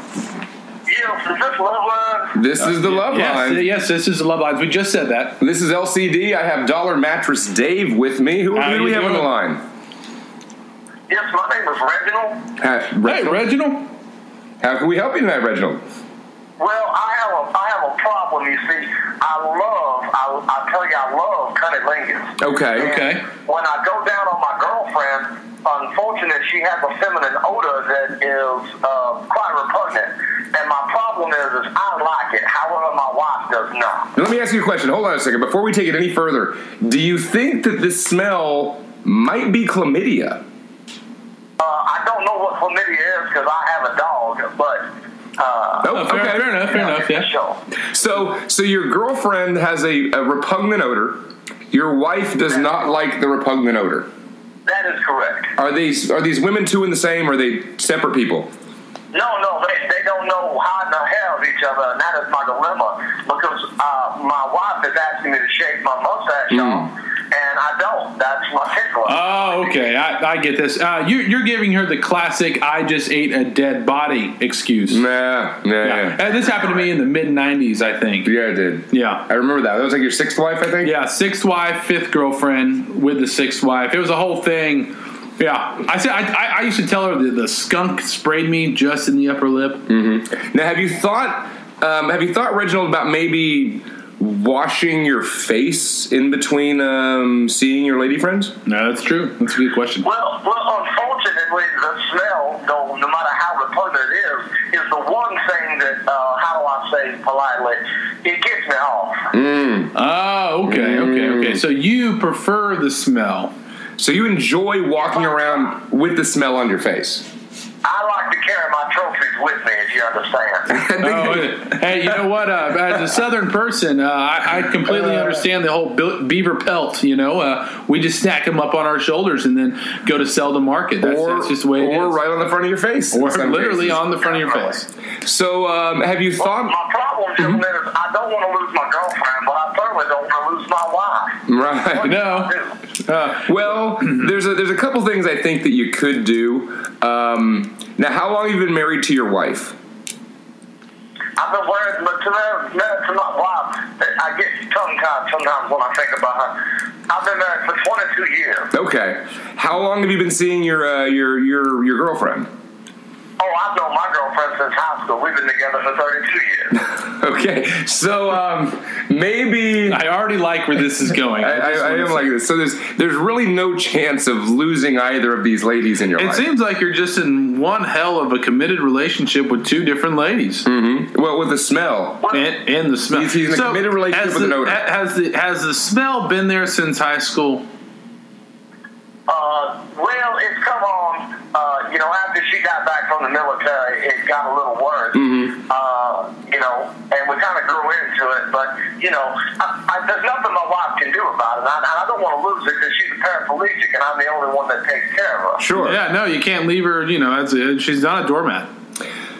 Yeah, is this love uh, line? This is the Love Uh, Yes, Line. yes, this is the Love Lines. We just said that. This is LCD. I have Dollar Mattress Dave with me. Who, How who do you we have on the doing? line? Yes, my name is Reginald. Ha- Hey, Reginald, Reginald. how can we help you tonight, Reginald? Well, I have a I have a problem. You see, I love I I tell you I love cunnilingus. Okay. And Okay. When I go down on my girlfriend, unfortunately, she has a feminine odor that is uh, quite repugnant. And my problem is, is I like it. However, my wife does not. Now, let me ask you a question. Hold on a second. Before we take it any further, do you think that this smell might be chlamydia? Uh, I don't know what chlamydia is because I have a dog, but uh, Oh, fair, fair enough, fair enough, yeah. Sure. So, so your girlfriend has a, a repugnant odor. Your wife does not like the repugnant odor. That is correct. Are these are these women two and the same? Or are they separate people? No, no, they, they don't know how in the hell of each other, and that is my dilemma. Because uh, my wife is asking me to shave my mustache off, and I don't. That's my tickler. Hmm. Oh, okay. I, I get this. Uh, you, you're giving her the classic "I just ate a dead body" excuse. Nah, nah. Yeah, Uh, this happened to me in the mid '90s, I think. yeah I did. Yeah. I remember that. That was like your sixth wife, I think. Yeah, sixth wife, fifth girlfriend with the sixth wife. It was a whole thing. Yeah, I said I, I, I used to tell her that the skunk sprayed me just in the upper lip. Now, have you thought, um, have you thought, Reginald, about maybe washing your face in between um, seeing your lady friends? No, that's true. That's a good question. Well, well, unfortunately, the smell, though, no matter how repugnant it is, is the one thing that, uh, how do I say politely, it gets me off. Oh, okay, okay, okay. So you prefer the smell? So you enjoy walking around with the smell on your face. I like to carry my trophies with me, if you understand. Oh, okay. hey, you know what? Uh, as a Southern person, uh, I, I completely understand the whole be- beaver pelt. You know, uh, we just stack them up on our shoulders and then go to sell to market. That's, that's just the way it is. or right on the front of your face. in or some literally cases. on the front of your face. So um, have you thought? *laughs* my problem, gentlemen, is I don't want to lose my girlfriend, but I certainly don't want to lose my wife. Right. No. Uh, Well, there's a, there's a couple things I think that you could do. Um, now, how long have you been married to your wife? I've been worried, but to my, to my wife, I get tongue tied sometimes when I think about her. I've been married for 22 years. Okay. How long have you been seeing your uh, your your your girlfriend? *laughs* Oh, I've known my girlfriend since high school. We've been together for 32 *laughs* years. Okay. So um, maybe. I, I already like where this is *laughs* going. I, just I wanna am say- like this. So there's there's really no chance of losing either of these ladies in your It life. seems like you're just in one hell of a committed relationship with two different ladies, well, with the smell. and, and the smell. He's- he's in a committed relationship has with an the- odor. ha- Has the has the smell been there since high school? Uh, well, it's come on. Mm-hmm. Uh, you know, after she got back from the military, it got a little worse. Uh, you know, and we kind of grew into it. But you know, I, I, there's nothing my wife can do about it. And I, I don't want to lose her because she's a paraplegic, and I'm the only one that takes care of her. Sure. Yeah, no, you can't leave her. You know, that's it. she's not a doormat.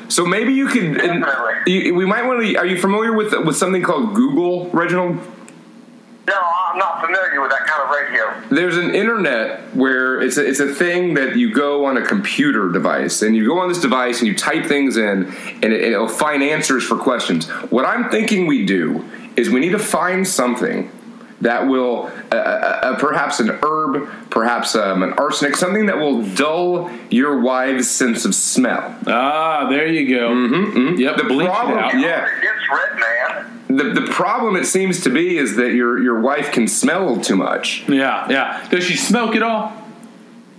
So maybe you could. and Definitely. you, we might want to. Are you familiar with with something called Google, Reginald? No, I'm not familiar with that kind of radio. There's an internet where it's a, it's a thing that you go on a computer device and you go on this device and you type things in and it, it'll find answers for questions. What I'm thinking we do is we need to find something that will uh, uh, uh, perhaps an herb, perhaps um, an arsenic, something that will dull your wives' sense of smell. Ah, there you go. Mm-hmm, Yep, The bleach it problem- out. Yeah. It's red man. The, the problem it seems to be is that your your wife can smell too much. Yeah, yeah. Does she smoke at all?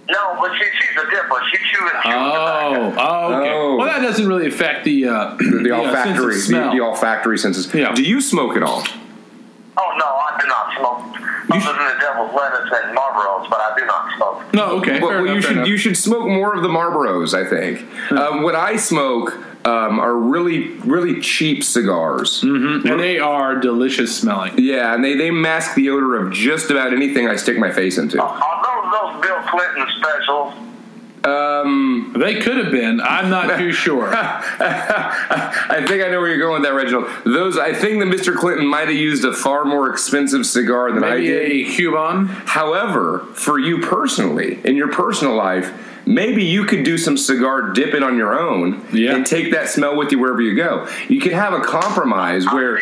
No, but she, she's a dipper. She chews chews Oh, tobacco. oh, okay. Oh. Well, that doesn't really affect *clears throat* the uh, The, olfactory, the, smell. the olfactory senses. Yeah. Do you smoke at all? Oh no, I do not smoke. Other than the devil's lettuce and Marlboros, but I do not smoke. no, okay. Well, fair well, enough, you fair should enough. you should smoke more of the Marlboros. I think um, what I smoke um, are really really cheap cigars. and they are delicious smelling. Yeah, and they, they mask the odor of just about anything I stick my face into. Although those Bill Clinton specials, Um, They could have been. I'm not too sure. *laughs* I think I know where you're going with that, Reginald. Those I think that Mr. Clinton might have used a far more expensive cigar than I Maybe did. a Cuban. However, for you personally, in your personal life, maybe you could do some cigar dipping on your own Yeah. and take that smell with you wherever you go. You could have a compromise where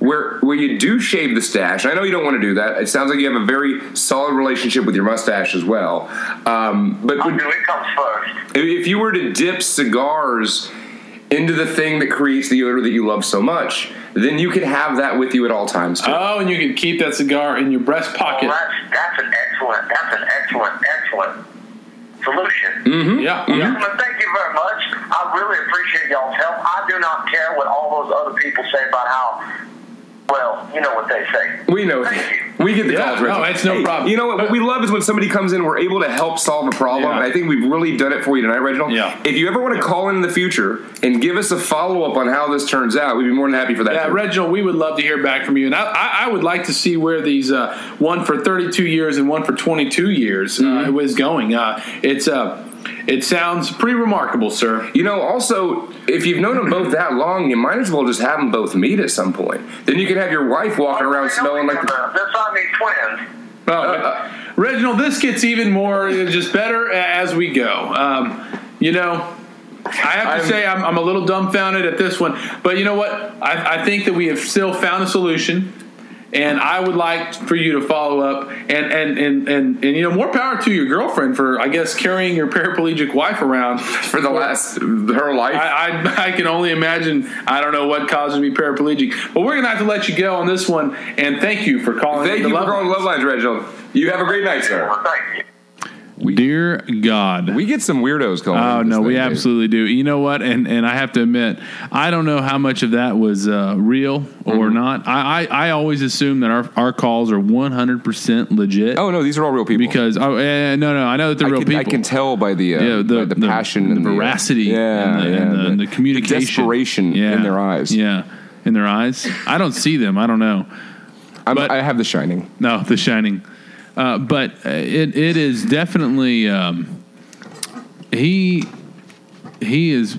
where where you do shave the stash. I know you don't want to do that. It sounds like you have a very solid relationship with your mustache as well. Um, but I would, do it comes first. if you were to dip cigars into the thing that creates the odor that you love so much, then you could have that with you at all times. too. Oh, and you can keep that cigar in your breast pocket. Well, that's that's an excellent, that's an excellent, excellent solution. Mm-hmm. Yeah, yeah. Well, thank you very much. I really appreciate y'all's help. I do not care what all those other people say about how. Well, you know what they say. We know. Thank We get the Yeah, calls. no, Reggie. it's no Hey, problem. You know what? What we love is when somebody comes in, we're able to help solve a problem. Yeah. And I think we've really done it for you tonight, Reginald. Yeah. If you ever want to call in in the future and give us a follow up on how this turns out, we'd be more than happy for that. Yeah, too. Uh, Reginald, we would love to hear back from you, and I, I, I would like to see where these uh, one for 32 years and one for 22 years uh, was going. Uh, it's uh, it sounds pretty remarkable, sir. You know, also, if you've known them both that long, you might as well just have them both meet at some point. Then you could have your wife walking around smelling like. The, That's on these uh, twins. Well, Reginald, this gets even more uh, just better a- as we go. Um, you know. I have to I'm- say, I'm, I'm a little dumbfounded at this one, but you know what? I, I think that we have still found a solution, and I would like for you to follow up and and and and, and you know more power to your girlfriend for I guess carrying your paraplegic wife around *laughs* for the last her life. I, I, I can only imagine. I don't know what caused me to be paraplegic, but we're gonna have to let you go on this one. And thank you for calling. Thank into you for Love calling Lines. Love Lines, Reginald. You have a great night, sir. Well, thank you. Dear God. We get some weirdos calling. Oh this no, thing, we dude. absolutely do. You know what? And and I have to admit, I don't know how much of that was uh, real or Mm-hmm. not. I, I I always assume that our our calls are one hundred percent legit Oh no, these are all real people. because oh eh, no no I know that they're I real can, people. I can tell by the uh, Yeah, the- by the, the- passion the and the uh, veracity yeah, and the- and yeah, the- and the communication. desperation in their eyes. Yeah, in their eyes. I don't see them. I don't know. I'm, But- I have The Shining. No, The Shining. Uh, but uh, it it is definitely um, he he is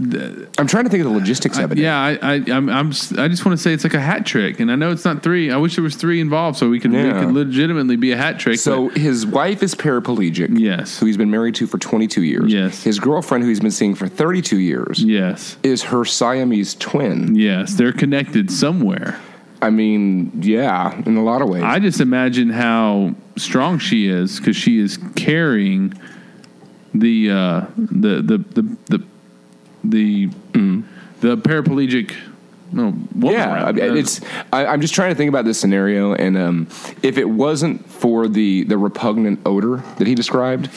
I'm trying to think of the logistics of it. yeah I, I I'm, I'm s- I just want to say it's like a hat trick and I know it's not three I wish there was three involved so we could Yeah. it could legitimately be a hat trick So his wife is paraplegic. Yes. Who he's been married to for 22 years. Yes. His girlfriend, who he's been seeing for 32 years, but- yes is her Siamese twin. yes they're connected somewhere I mean, yeah, in a lot of ways. I just imagine how strong she is because she is carrying the uh, the the the the the, Mm-hmm. the paraplegic. No, woman yeah, I- around. it's. I, I'm just trying to think about this scenario, and um, if it wasn't for the the repugnant odor that he described,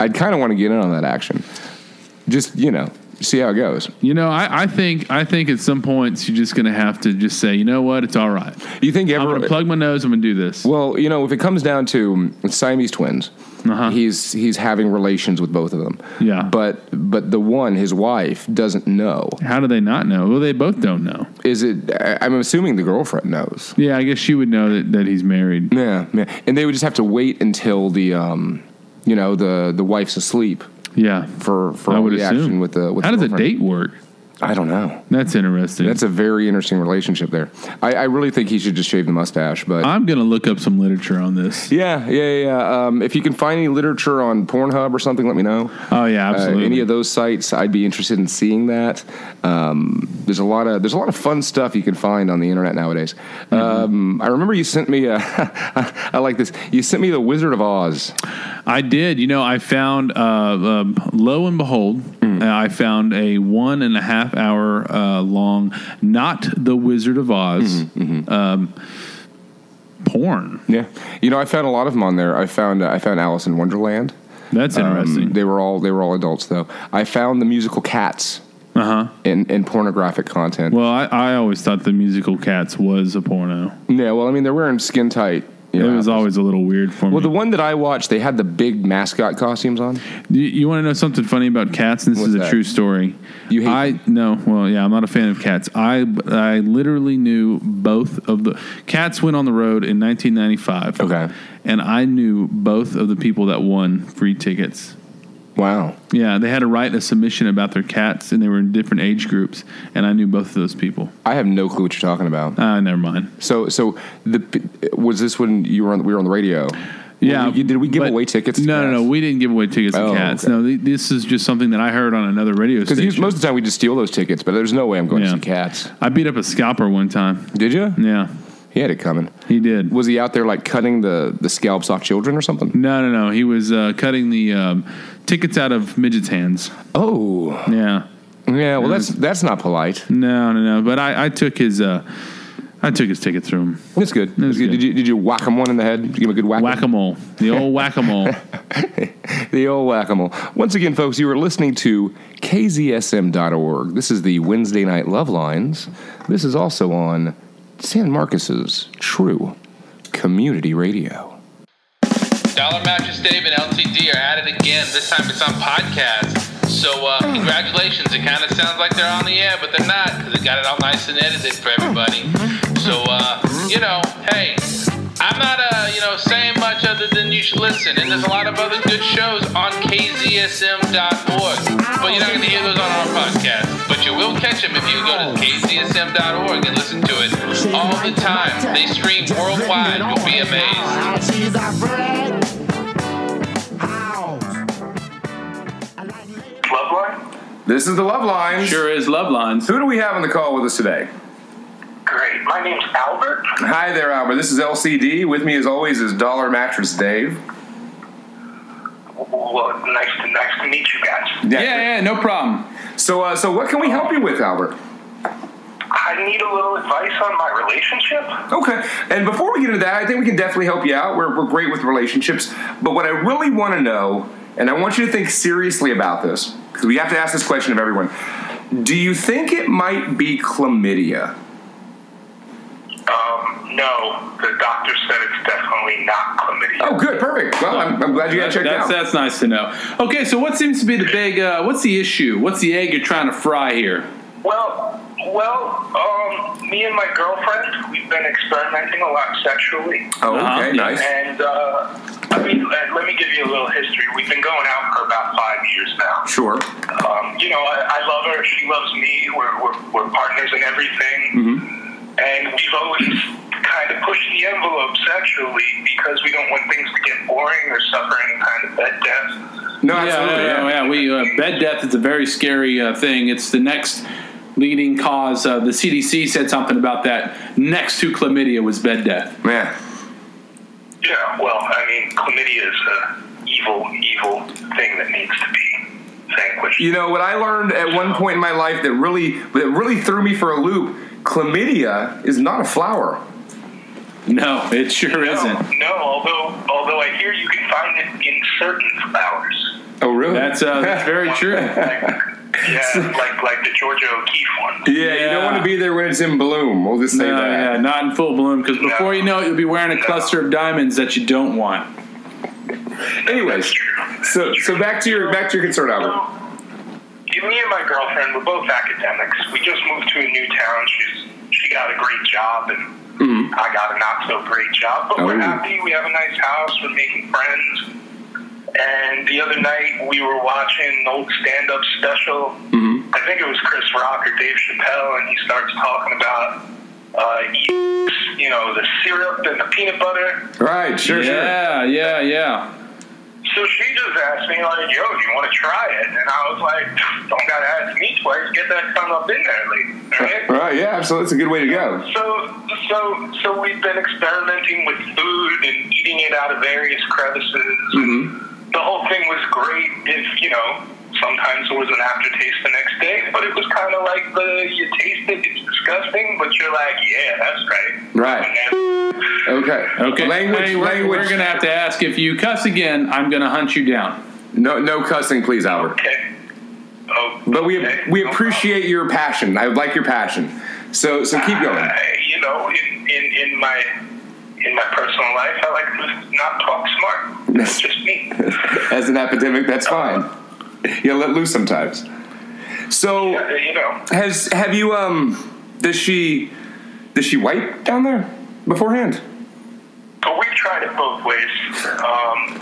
I'd kind of want to get in on that action. Just you know, see how it goes. You know, I, I think I think at some points you're just going to have to just say, you know what, it's all right. You think I'm everyone? going to plug my nose. I'm going to do this. Well, you know, if it comes down to mm, Siamese twins, Uh-huh. he's he's having relations with both of them. Yeah. But but the one, his wife, doesn't know. How do they not know? Well, they both don't know. Is it? I- I'm assuming the girlfriend knows. Yeah, I guess she would know that, that he's married. Yeah, yeah. And they would just have to wait until the um, you know, the the wife's asleep Yeah, for for I all would the action assume. with the. With How the does a girlfriend. date work? I don't know. That's interesting. That's a very interesting relationship there. I, I really think he should just shave the mustache, but. I'm going to look up some literature on this. yeah, yeah, yeah. Um, if you can find any literature on Pornhub or something, let me know. Oh yeah, Uh, absolutely. any of those sites, I'd be interested in seeing that. Um, there's a lot of there's a lot of fun stuff you can find on the internet nowadays. Mm-hmm. Um, I remember you sent me a *laughs* I like this. You sent me the Wizard of Oz. I did. You know, I found uh, um, lo and behold, Mm. uh, I found a one and a half hour uh, long, not the Wizard of Oz, Mm-hmm, Um, porn. Yeah, you know I found a lot of them on there. I found uh, I found Alice in Wonderland. That's Um, interesting. they were all they were all adults though. I found the musical Cats uh huh. in, in pornographic content. Well, I, I always thought the musical Cats was a porno. yeah, well I mean they're wearing skin tight. you It know, was outfits. always a little weird for me. well the one that I watched they had the big mascot costumes on. You, want to know something funny about cats? And this What's is a that? true story. You hate I no. Well, yeah, I'm not a fan of cats. I I literally knew both of the cats went on the road in 1995. Okay. and I knew both of the people that won free tickets. Wow. Yeah, they had to write a submission about their cats, and they were in different age groups, and I knew both of those people. I have no clue what you're talking about. Ah, never mind. So, so the was this when you were on, we were on the radio? Yeah, Were we- did we give but- away tickets? No, no, no. We didn't give away tickets Oh, to cats. okay. No, th- this is just something that I heard on another radio station. because most of the time we just steal those tickets. But there's no way I'm going Yeah. to see cats. I beat up a scalper one time. Did you? Yeah, He had it coming. he did. Was he out there like cutting the the scalps off children or something? No, no, no. He was uh, cutting the um, tickets out of midgets' hands. Oh, Yeah. yeah. Well, that's that's not polite. No, no, no. But I, I took his. Uh, I took his tickets from him. That's good. That's good. good. Did you did you whack him one in the head? Did you give him a good whack? Whack a mole. The old whack *laughs* a mole. The old whack a mole. Once again, folks, you are listening to KZSM.org. This is the Wednesday Night Love Lines. This is also on San Marcos's True Community Radio. Dollar Mattress Dave and LTD are at it again. This time it's on podcast. So uh, congratulations. It kind of sounds like they're on the air, but they're not because they got it all nice and edited for everybody. So uh, you know, hey, I'm not uh, you know saying much other than you should listen. And there's a lot of other good shows on KZSM.org, but you're not going to hear those on our podcast. But you will catch them if you go to KZSM.org and listen to it all the time. They stream worldwide. You'll be amazed. She's a friend. House. I like living- Love line? This is the Love Lines. Sure is love lines. Who do we have on the call with us today? Great. My name's Albert. Hi there, Albert. This is LCD. With me, as always, is Dollar Mattress Dave. Well, nice to nice to meet you guys. Yeah, yeah, no problem. So, uh, so what can we help you with, Albert? I need a little advice on my relationship. Okay. And before we get into that, I think we can definitely help you out. We're, we're great with relationships. But what I really want to know, and I want you to think seriously about this, because we have to ask this question of everyone do you think it might be chlamydia? Um, no, the doctor said it's definitely not chlamydia. Oh, good. Perfect. Well, I'm, I'm glad you got checked That's, out. that's nice to know. Okay, so what seems to be the big? Uh, what's the issue? What's the egg you're trying to fry here? Well, well, um, me and my girlfriend, we've been experimenting a lot sexually. oh, okay. Uh-huh. Nice. And, uh, I mean, let, let me give you a little history. We've been going out for about five years now. Sure. Um, you know, I, I love her. She loves me. We're, we're, we're partners in everything. And we've always kind of pushed the envelope sexually because we don't want things to get boring or suffer any kind of bed death. No, Yeah, absolutely. yeah, yeah. yeah, We uh, bed death is a very scary uh, thing. It's the next leading cause. Uh, the CDC said something about that. Next to chlamydia was bed death. Man. Yeah, well, I mean, chlamydia is an evil, evil thing that needs to be vanquished. You know what I learned at one point in my life that really that really threw me for a loop. Chlamydia is not a flower. No, it sure isn't. No, no, although although I hear you can find it in certain flowers. Oh, really? *laughs* *laughs* That's uh, that's very true. Like, yeah, like like the Georgia O'Keeffe one. Yeah, you don't want to be there when it's in bloom. We'll just say No, yeah, that. not in full bloom because before you know it, you'll be wearing a No. cluster of diamonds that you don't want. Anyways, so so back to your back to your concert album. Yeah, me and my girlfriend, we're both academics. We just moved to a new town. She's she got a great job, and I got a not so great job. But Oh. we're happy. We have a nice house. We're making friends. And the other night we were watching an old stand-up special. I think it was Chris Rock or Dave Chappelle, and he starts talking about uh, you know the syrup and the peanut butter. Right, sure, Yeah, yeah, yeah. So she just asked me, like, yo, do you want to try it? And I was like, don't got to ask me twice. Get that son up in there, lady. sure. Right? Right, yeah, absolutely. That's a good way to go. So, so, so we've been experimenting with food and eating it out of various crevices. Mm-hmm. The whole thing was great if, you know, sometimes there was an aftertaste the next day, but it was kind of like the, you taste it, it's disgusting, but you're like, yeah, that's right. Right. And that's- Okay. Okay, Language. hey, we're, language. We're gonna have to ask if you cuss again. I'm gonna hunt you down. No, no cussing, please, Albert. okay. Oh, But we okay, we no appreciate your passion. I like your passion. So so keep going. *laughs* I, you know, in, in, in my in my personal life, I like to not talk smart. That's *laughs* just me. As an epidemic, that's fine. Yeah, let loose sometimes. So you know, has have you um? Does she does she wipe down there beforehand? but we've tried it both ways. Um,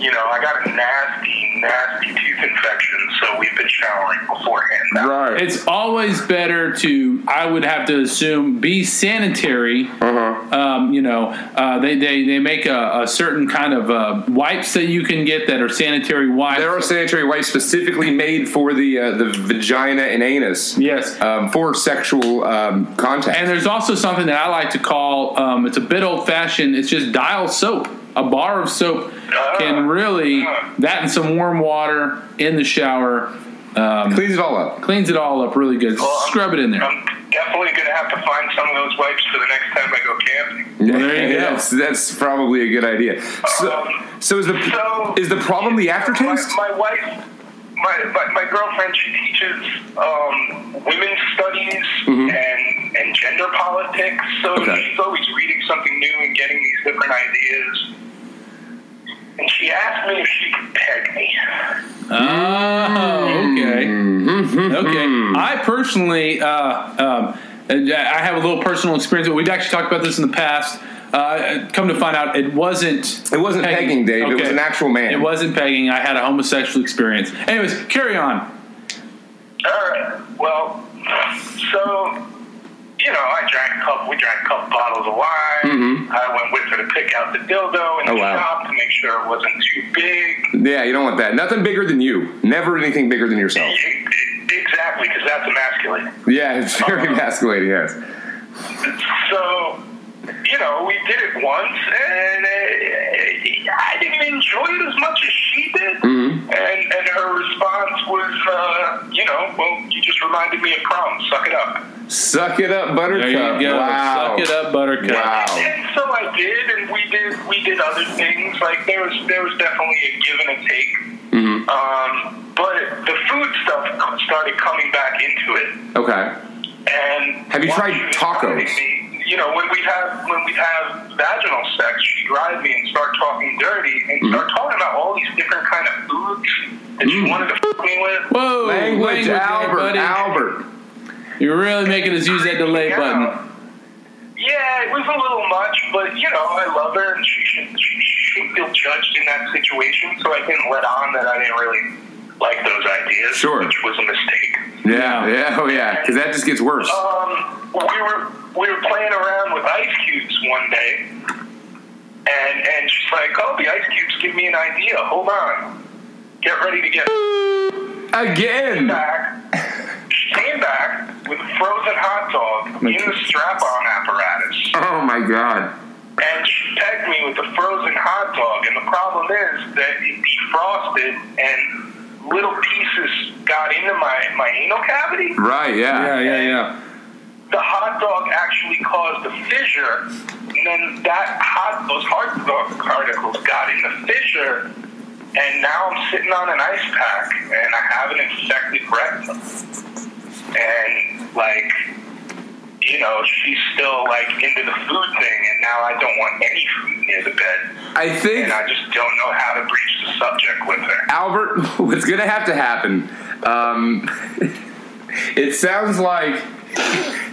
you know, I got a nasty, nasty tooth infection, so we've been showering beforehand. That- Right. It's always better to, I would have to assume, be sanitary. Uh-huh. Um, you know, uh, they, they they make a, a certain kind of uh, wipes that you can get that are sanitary wipes. There are sanitary wipes specifically made for the uh, the vagina and anus. Yes. Um, for sexual um, contact. And there's also something that I like to call um, it's a bit old fashioned. It's just dial soap. A bar of soap Ah. can really that and some warm water in the shower um, Cleans it all up. cleans it all up really good. Well, I'm- Scrub it in there. I'm definitely going to have to find some of those wipes for the next time I go camping. *laughs* there you go. Yes, that's probably a good idea. So, Um, so is the So uh, is the problem the aftertaste? My, my wife, my, my my girlfriend, she teaches um, women's studies and and gender politics. So Mm-hmm. Okay. she's always reading something new and getting these different ideas. And she asked me if she could peg me. Oh, okay. Okay. Mm-hmm. I personally, uh, um, and I have a little personal experience. We've actually talked about this in the past. Uh, come to find out, it wasn't. It wasn't pegging, Dave. It was an actual man. It wasn't pegging. I had a homosexual experience. Anyways, carry on. All right. Well, so you know, I drank a couple. We drank a couple bottles of wine. I went with her to pick out the dildo in Mm-hmm. Oh, the wow. shop to make sure it wasn't too big. Yeah, you don't want that. Nothing bigger than you. Never anything bigger than yourself. Exactly, because that's emasculating. Yeah, it's very Uh-huh. masculine. Yes. So, you know, we did it once, and uh, I didn't enjoy it as much as she did. And and her response was, uh, you know, well, you just reminded me of prom. Suck it up. Suck it up, There Buttercup. you go. Wow. Suck it up, Buttercup. Wow. And so I did, and we did we did other things. Like there was there was definitely a give and a take. Um, but the food stuff started coming back into it. Okay. And Have you once tried she was tacos? driving Me, you know, when we have when we have vaginal sex, she drives me and start talking dirty and Mm-hmm. start talking about all these different kind of foods that she wanted to fuck me with. Whoa, Language, there, Albert. buddy. Albert. You're really making us use that delay Yeah. button. Yeah, it was a little much, but you know, I love her, and she should she should feel judged in that situation. So I didn't let on that I didn't really like those ideas, Sure. which was a mistake. Yeah. Yeah. *laughs* Oh yeah. Because that just gets worse. um, we were we were playing around with ice cubes one day, and and she's like, "Oh, the ice cubes give me an idea. Hold on, get ready to get Again. back." She came back with a frozen hot dog in the strap-on apparatus, Oh my God. and she pegged me with the frozen hot dog. And the problem is that it defrosted and. Little pieces got into my, my anal cavity. Right. Yeah. yeah, yeah. the hot dog actually caused a fissure, and then that hot those hot dog particles got in the fissure, And now I'm sitting on an ice pack, and I have an infected rectum. And like, you know, she's still like into the food thing, and now I don't want any food near the bed, I think and I just don't know how to breach the subject with her. Albert, *laughs* what's going to have to happen? Um, *laughs* it sounds like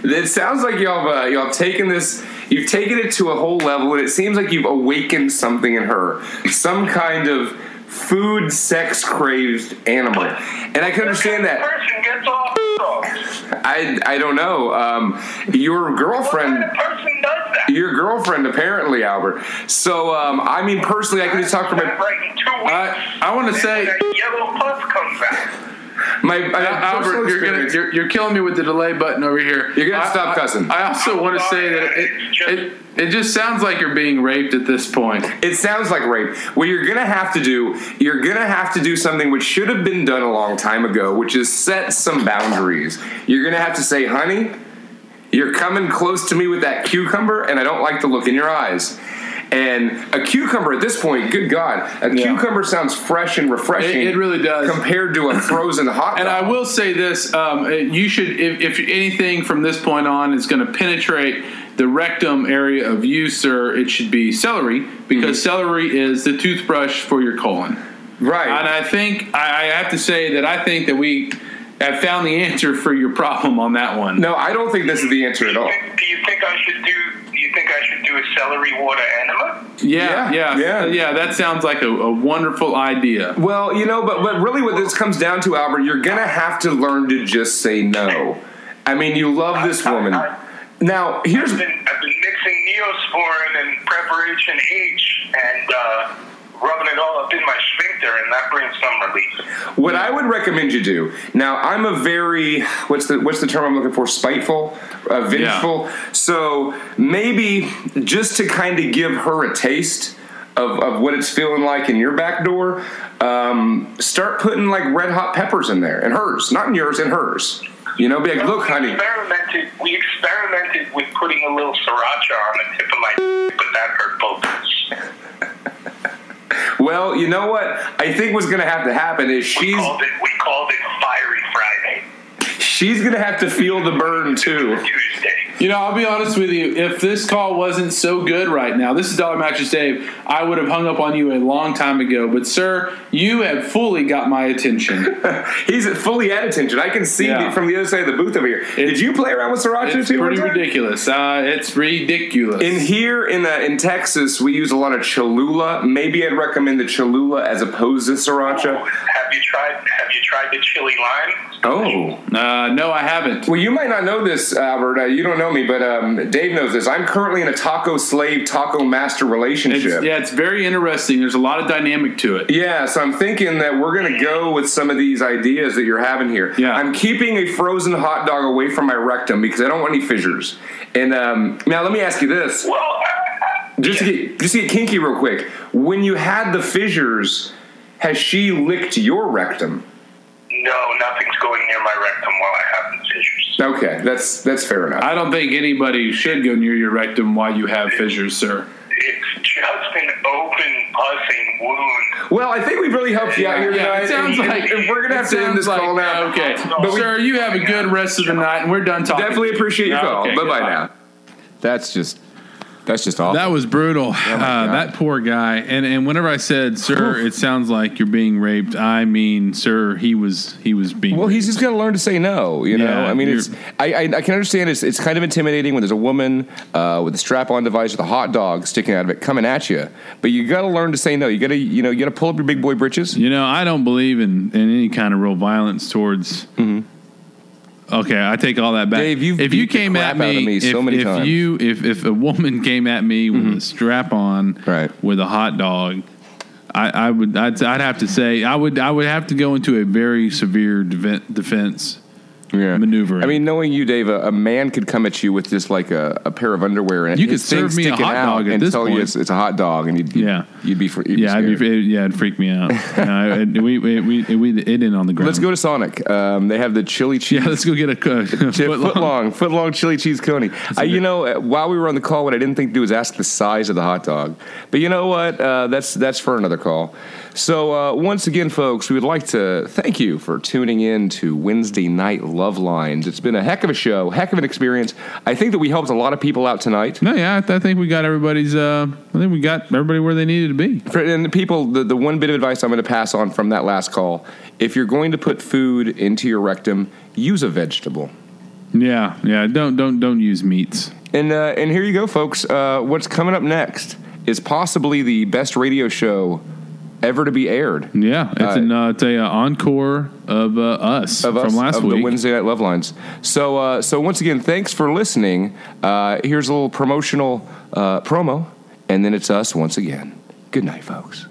it sounds like y'all have, uh, y'all have taken this. You've taken it to a whole level, and it seems like you've awakened something in her, some kind of food, sex craved animal. And I can understand that. Person gets off. What I I don't know. Um, your girlfriend. kind of person does that? Your girlfriend, apparently, Albert. So, um, I mean, personally, I can just talk for That, my Like in two weeks, I, I want to say, that yellow puff comes back. my uh, Albert, you're, gonna, you're, you're killing me with the delay button over here. You're gonna I- stop I- cussing. I, also want to say that it, it, it just sounds like you're being raped at this point. It sounds like rape. What you're gonna have to do, you're gonna have to do something which should have been done a long time ago, which is set some boundaries. You're gonna have to say, honey, you're coming close to me with that cucumber, and I don't like the look in your eyes. And a cucumber at this point, good God, a cucumber sounds fresh and refreshing. It- it really does. compared to a frozen hot. And I dog. will say this: um, you should, if, if anything from this point on is going to penetrate the rectum area of you, sir, it should be celery because celery is the toothbrush for your colon. Mm-hmm. right. And I think I, I have to say that I think that we have found the answer for your problem on that one. no, I don't think this is the answer at all. Do you think I should do? Do you think I should do a celery water enema? yeah, Yeah, yeah, yeah. Uh, yeah, That sounds like a, a wonderful idea. Well, you know, but but really, what this comes down to, Albert, you're gonna have to learn to just say no. I mean, you love this woman. Now, here's I've been, I've been mixing Neosporin and Preparation H and uh, rubbing it all up in my sphincter, and that brings some relief. what I would recommend you do. Now, I'm a very what's the what's the term I'm looking for? Spiteful, uh, vengeful. So maybe just to kind of give her a taste of, of what it's feeling like in your back door, um, start putting like red hot peppers in there and hers, not in yours, in hers. You know, be like, look, We honey. experimented. We experimented with putting a little sriracha on the tip of my, but that hurt both. of us. Well, you know what? I think what's going to have to happen is We she's Oh. called it. We called it Fiery Friday. she's going to have to feel the burn too. Tuesday. You know, I'll be honest with you. If this call wasn't so good right now, this is Dollar Mattress Dave. I would have hung up on you a long time ago. But sir, you have fully got my *laughs* attention. He's fully at attention. I can see Yeah. it from the other side of the booth over here. Did you play around with sriracha It's too? one pretty time? ridiculous. Uh, it's ridiculous. In here in uh, in Texas, we use a lot of Cholula. Maybe I'd recommend the Cholula as opposed to sriracha. Have you tried? Have you tried the chili lime? Oh, uh, no, I haven't. well, you might not know this, Albert. Uh, you don't know me, but um, Dave knows this. I'm currently in a taco slave, taco master It's, relationship. yeah, it's very interesting. There's a lot of dynamic to it. Yeah, so I'm thinking that we're going to go with some of these ideas that you're having here. Yeah. I'm keeping a frozen hot dog away from my rectum because I don't want any fissures. And um, now let me ask you this, Well, I- I- just to get just to get kinky real quick. When you had the fissures, has she licked your rectum? no, nothing's going near my rectum while I have the fissures. Okay, that's that's fair enough. I don't think anybody should go near your rectum while you have fissures, sir. It's just an open, pussing wound. well, I think we've really helped you out here Yeah, tonight. it sounds and- like and we're gonna it have to end sounds this like- uh, call now. Okay, But we- sir, you have a good rest of the night, and we're done talking. Definitely appreciate your Yeah, call. okay, bye bye goodbye. now. That's just that's just awful. That was brutal. uh, Oh, God. that poor guy. And and whenever I said, "Sir, it sounds like you're being raped," I mean, sir, he was he was being. Well, raped. he's just got to learn to say no. You know, Yeah, I mean, you're- it's I, I, I can understand it's it's kind of intimidating when there's a woman uh, with a strap-on device with a hot dog sticking out of it coming at you. But you got to learn to say no. You got to you know you got to pull up your big boy britches. You know, I don't believe in, in any kind of real violence towards. Okay, I take all that back. Mm-hmm. Dave, you've if you beat the came crap at me, out of me if, so many if times. Mm-hmm. you if if a woman came at me with a strap on, Right. with a hot dog, I, I would I'd, I'd have to say I would I would have to go into a very severe deven- defense yeah. maneuvering. I mean, knowing you, Dave, a, a man could come at you with just like a, a pair of underwear and You his could serve thing me a sticking hot out dog at and this tell you point. it's, it's a hot dog, and you'd, you'd Yeah. you'd be, fr- you'd be yeah, I'd scared. be, it, yeah, it'd freak me *laughs* out. no, it, we, we, we, it, we, it ended on the ground. Let's go to Sonic. Um, they have the chili cheese. *laughs* Yeah, let's go get a, *laughs* a Chip, foot long. footlong, footlong chili cheese coney. I, a you good- know, uh, while we were on the call, what I didn't think to do was ask the size of the hot dog. But you know what? Uh, that's that's for another call. So uh, once again, folks, we would like to thank you for tuning in to Wednesday Night Love Lines. It's been a heck of a show, heck of an experience. I think that we helped a lot of people out tonight. No, yeah, I, th- I think we got everybody's. Uh, I think we got everybody where they needed to be. For- And the people, the, the one bit of advice I'm going to pass on from that last call: if you're going to put food into your rectum, use a vegetable. Yeah, yeah. Don't don't don't use meats. And uh, and here you go, folks. Uh, what's coming up next is possibly the best radio show ever to be aired Yeah, it's Uh, an uh, it's a uh, encore of uh, us of from us, last of the week. Wednesday Night Love Lines. So uh, so once again, thanks for listening. Uh, here's a little promotional uh, promo, and then it's us once again. Good night, folks.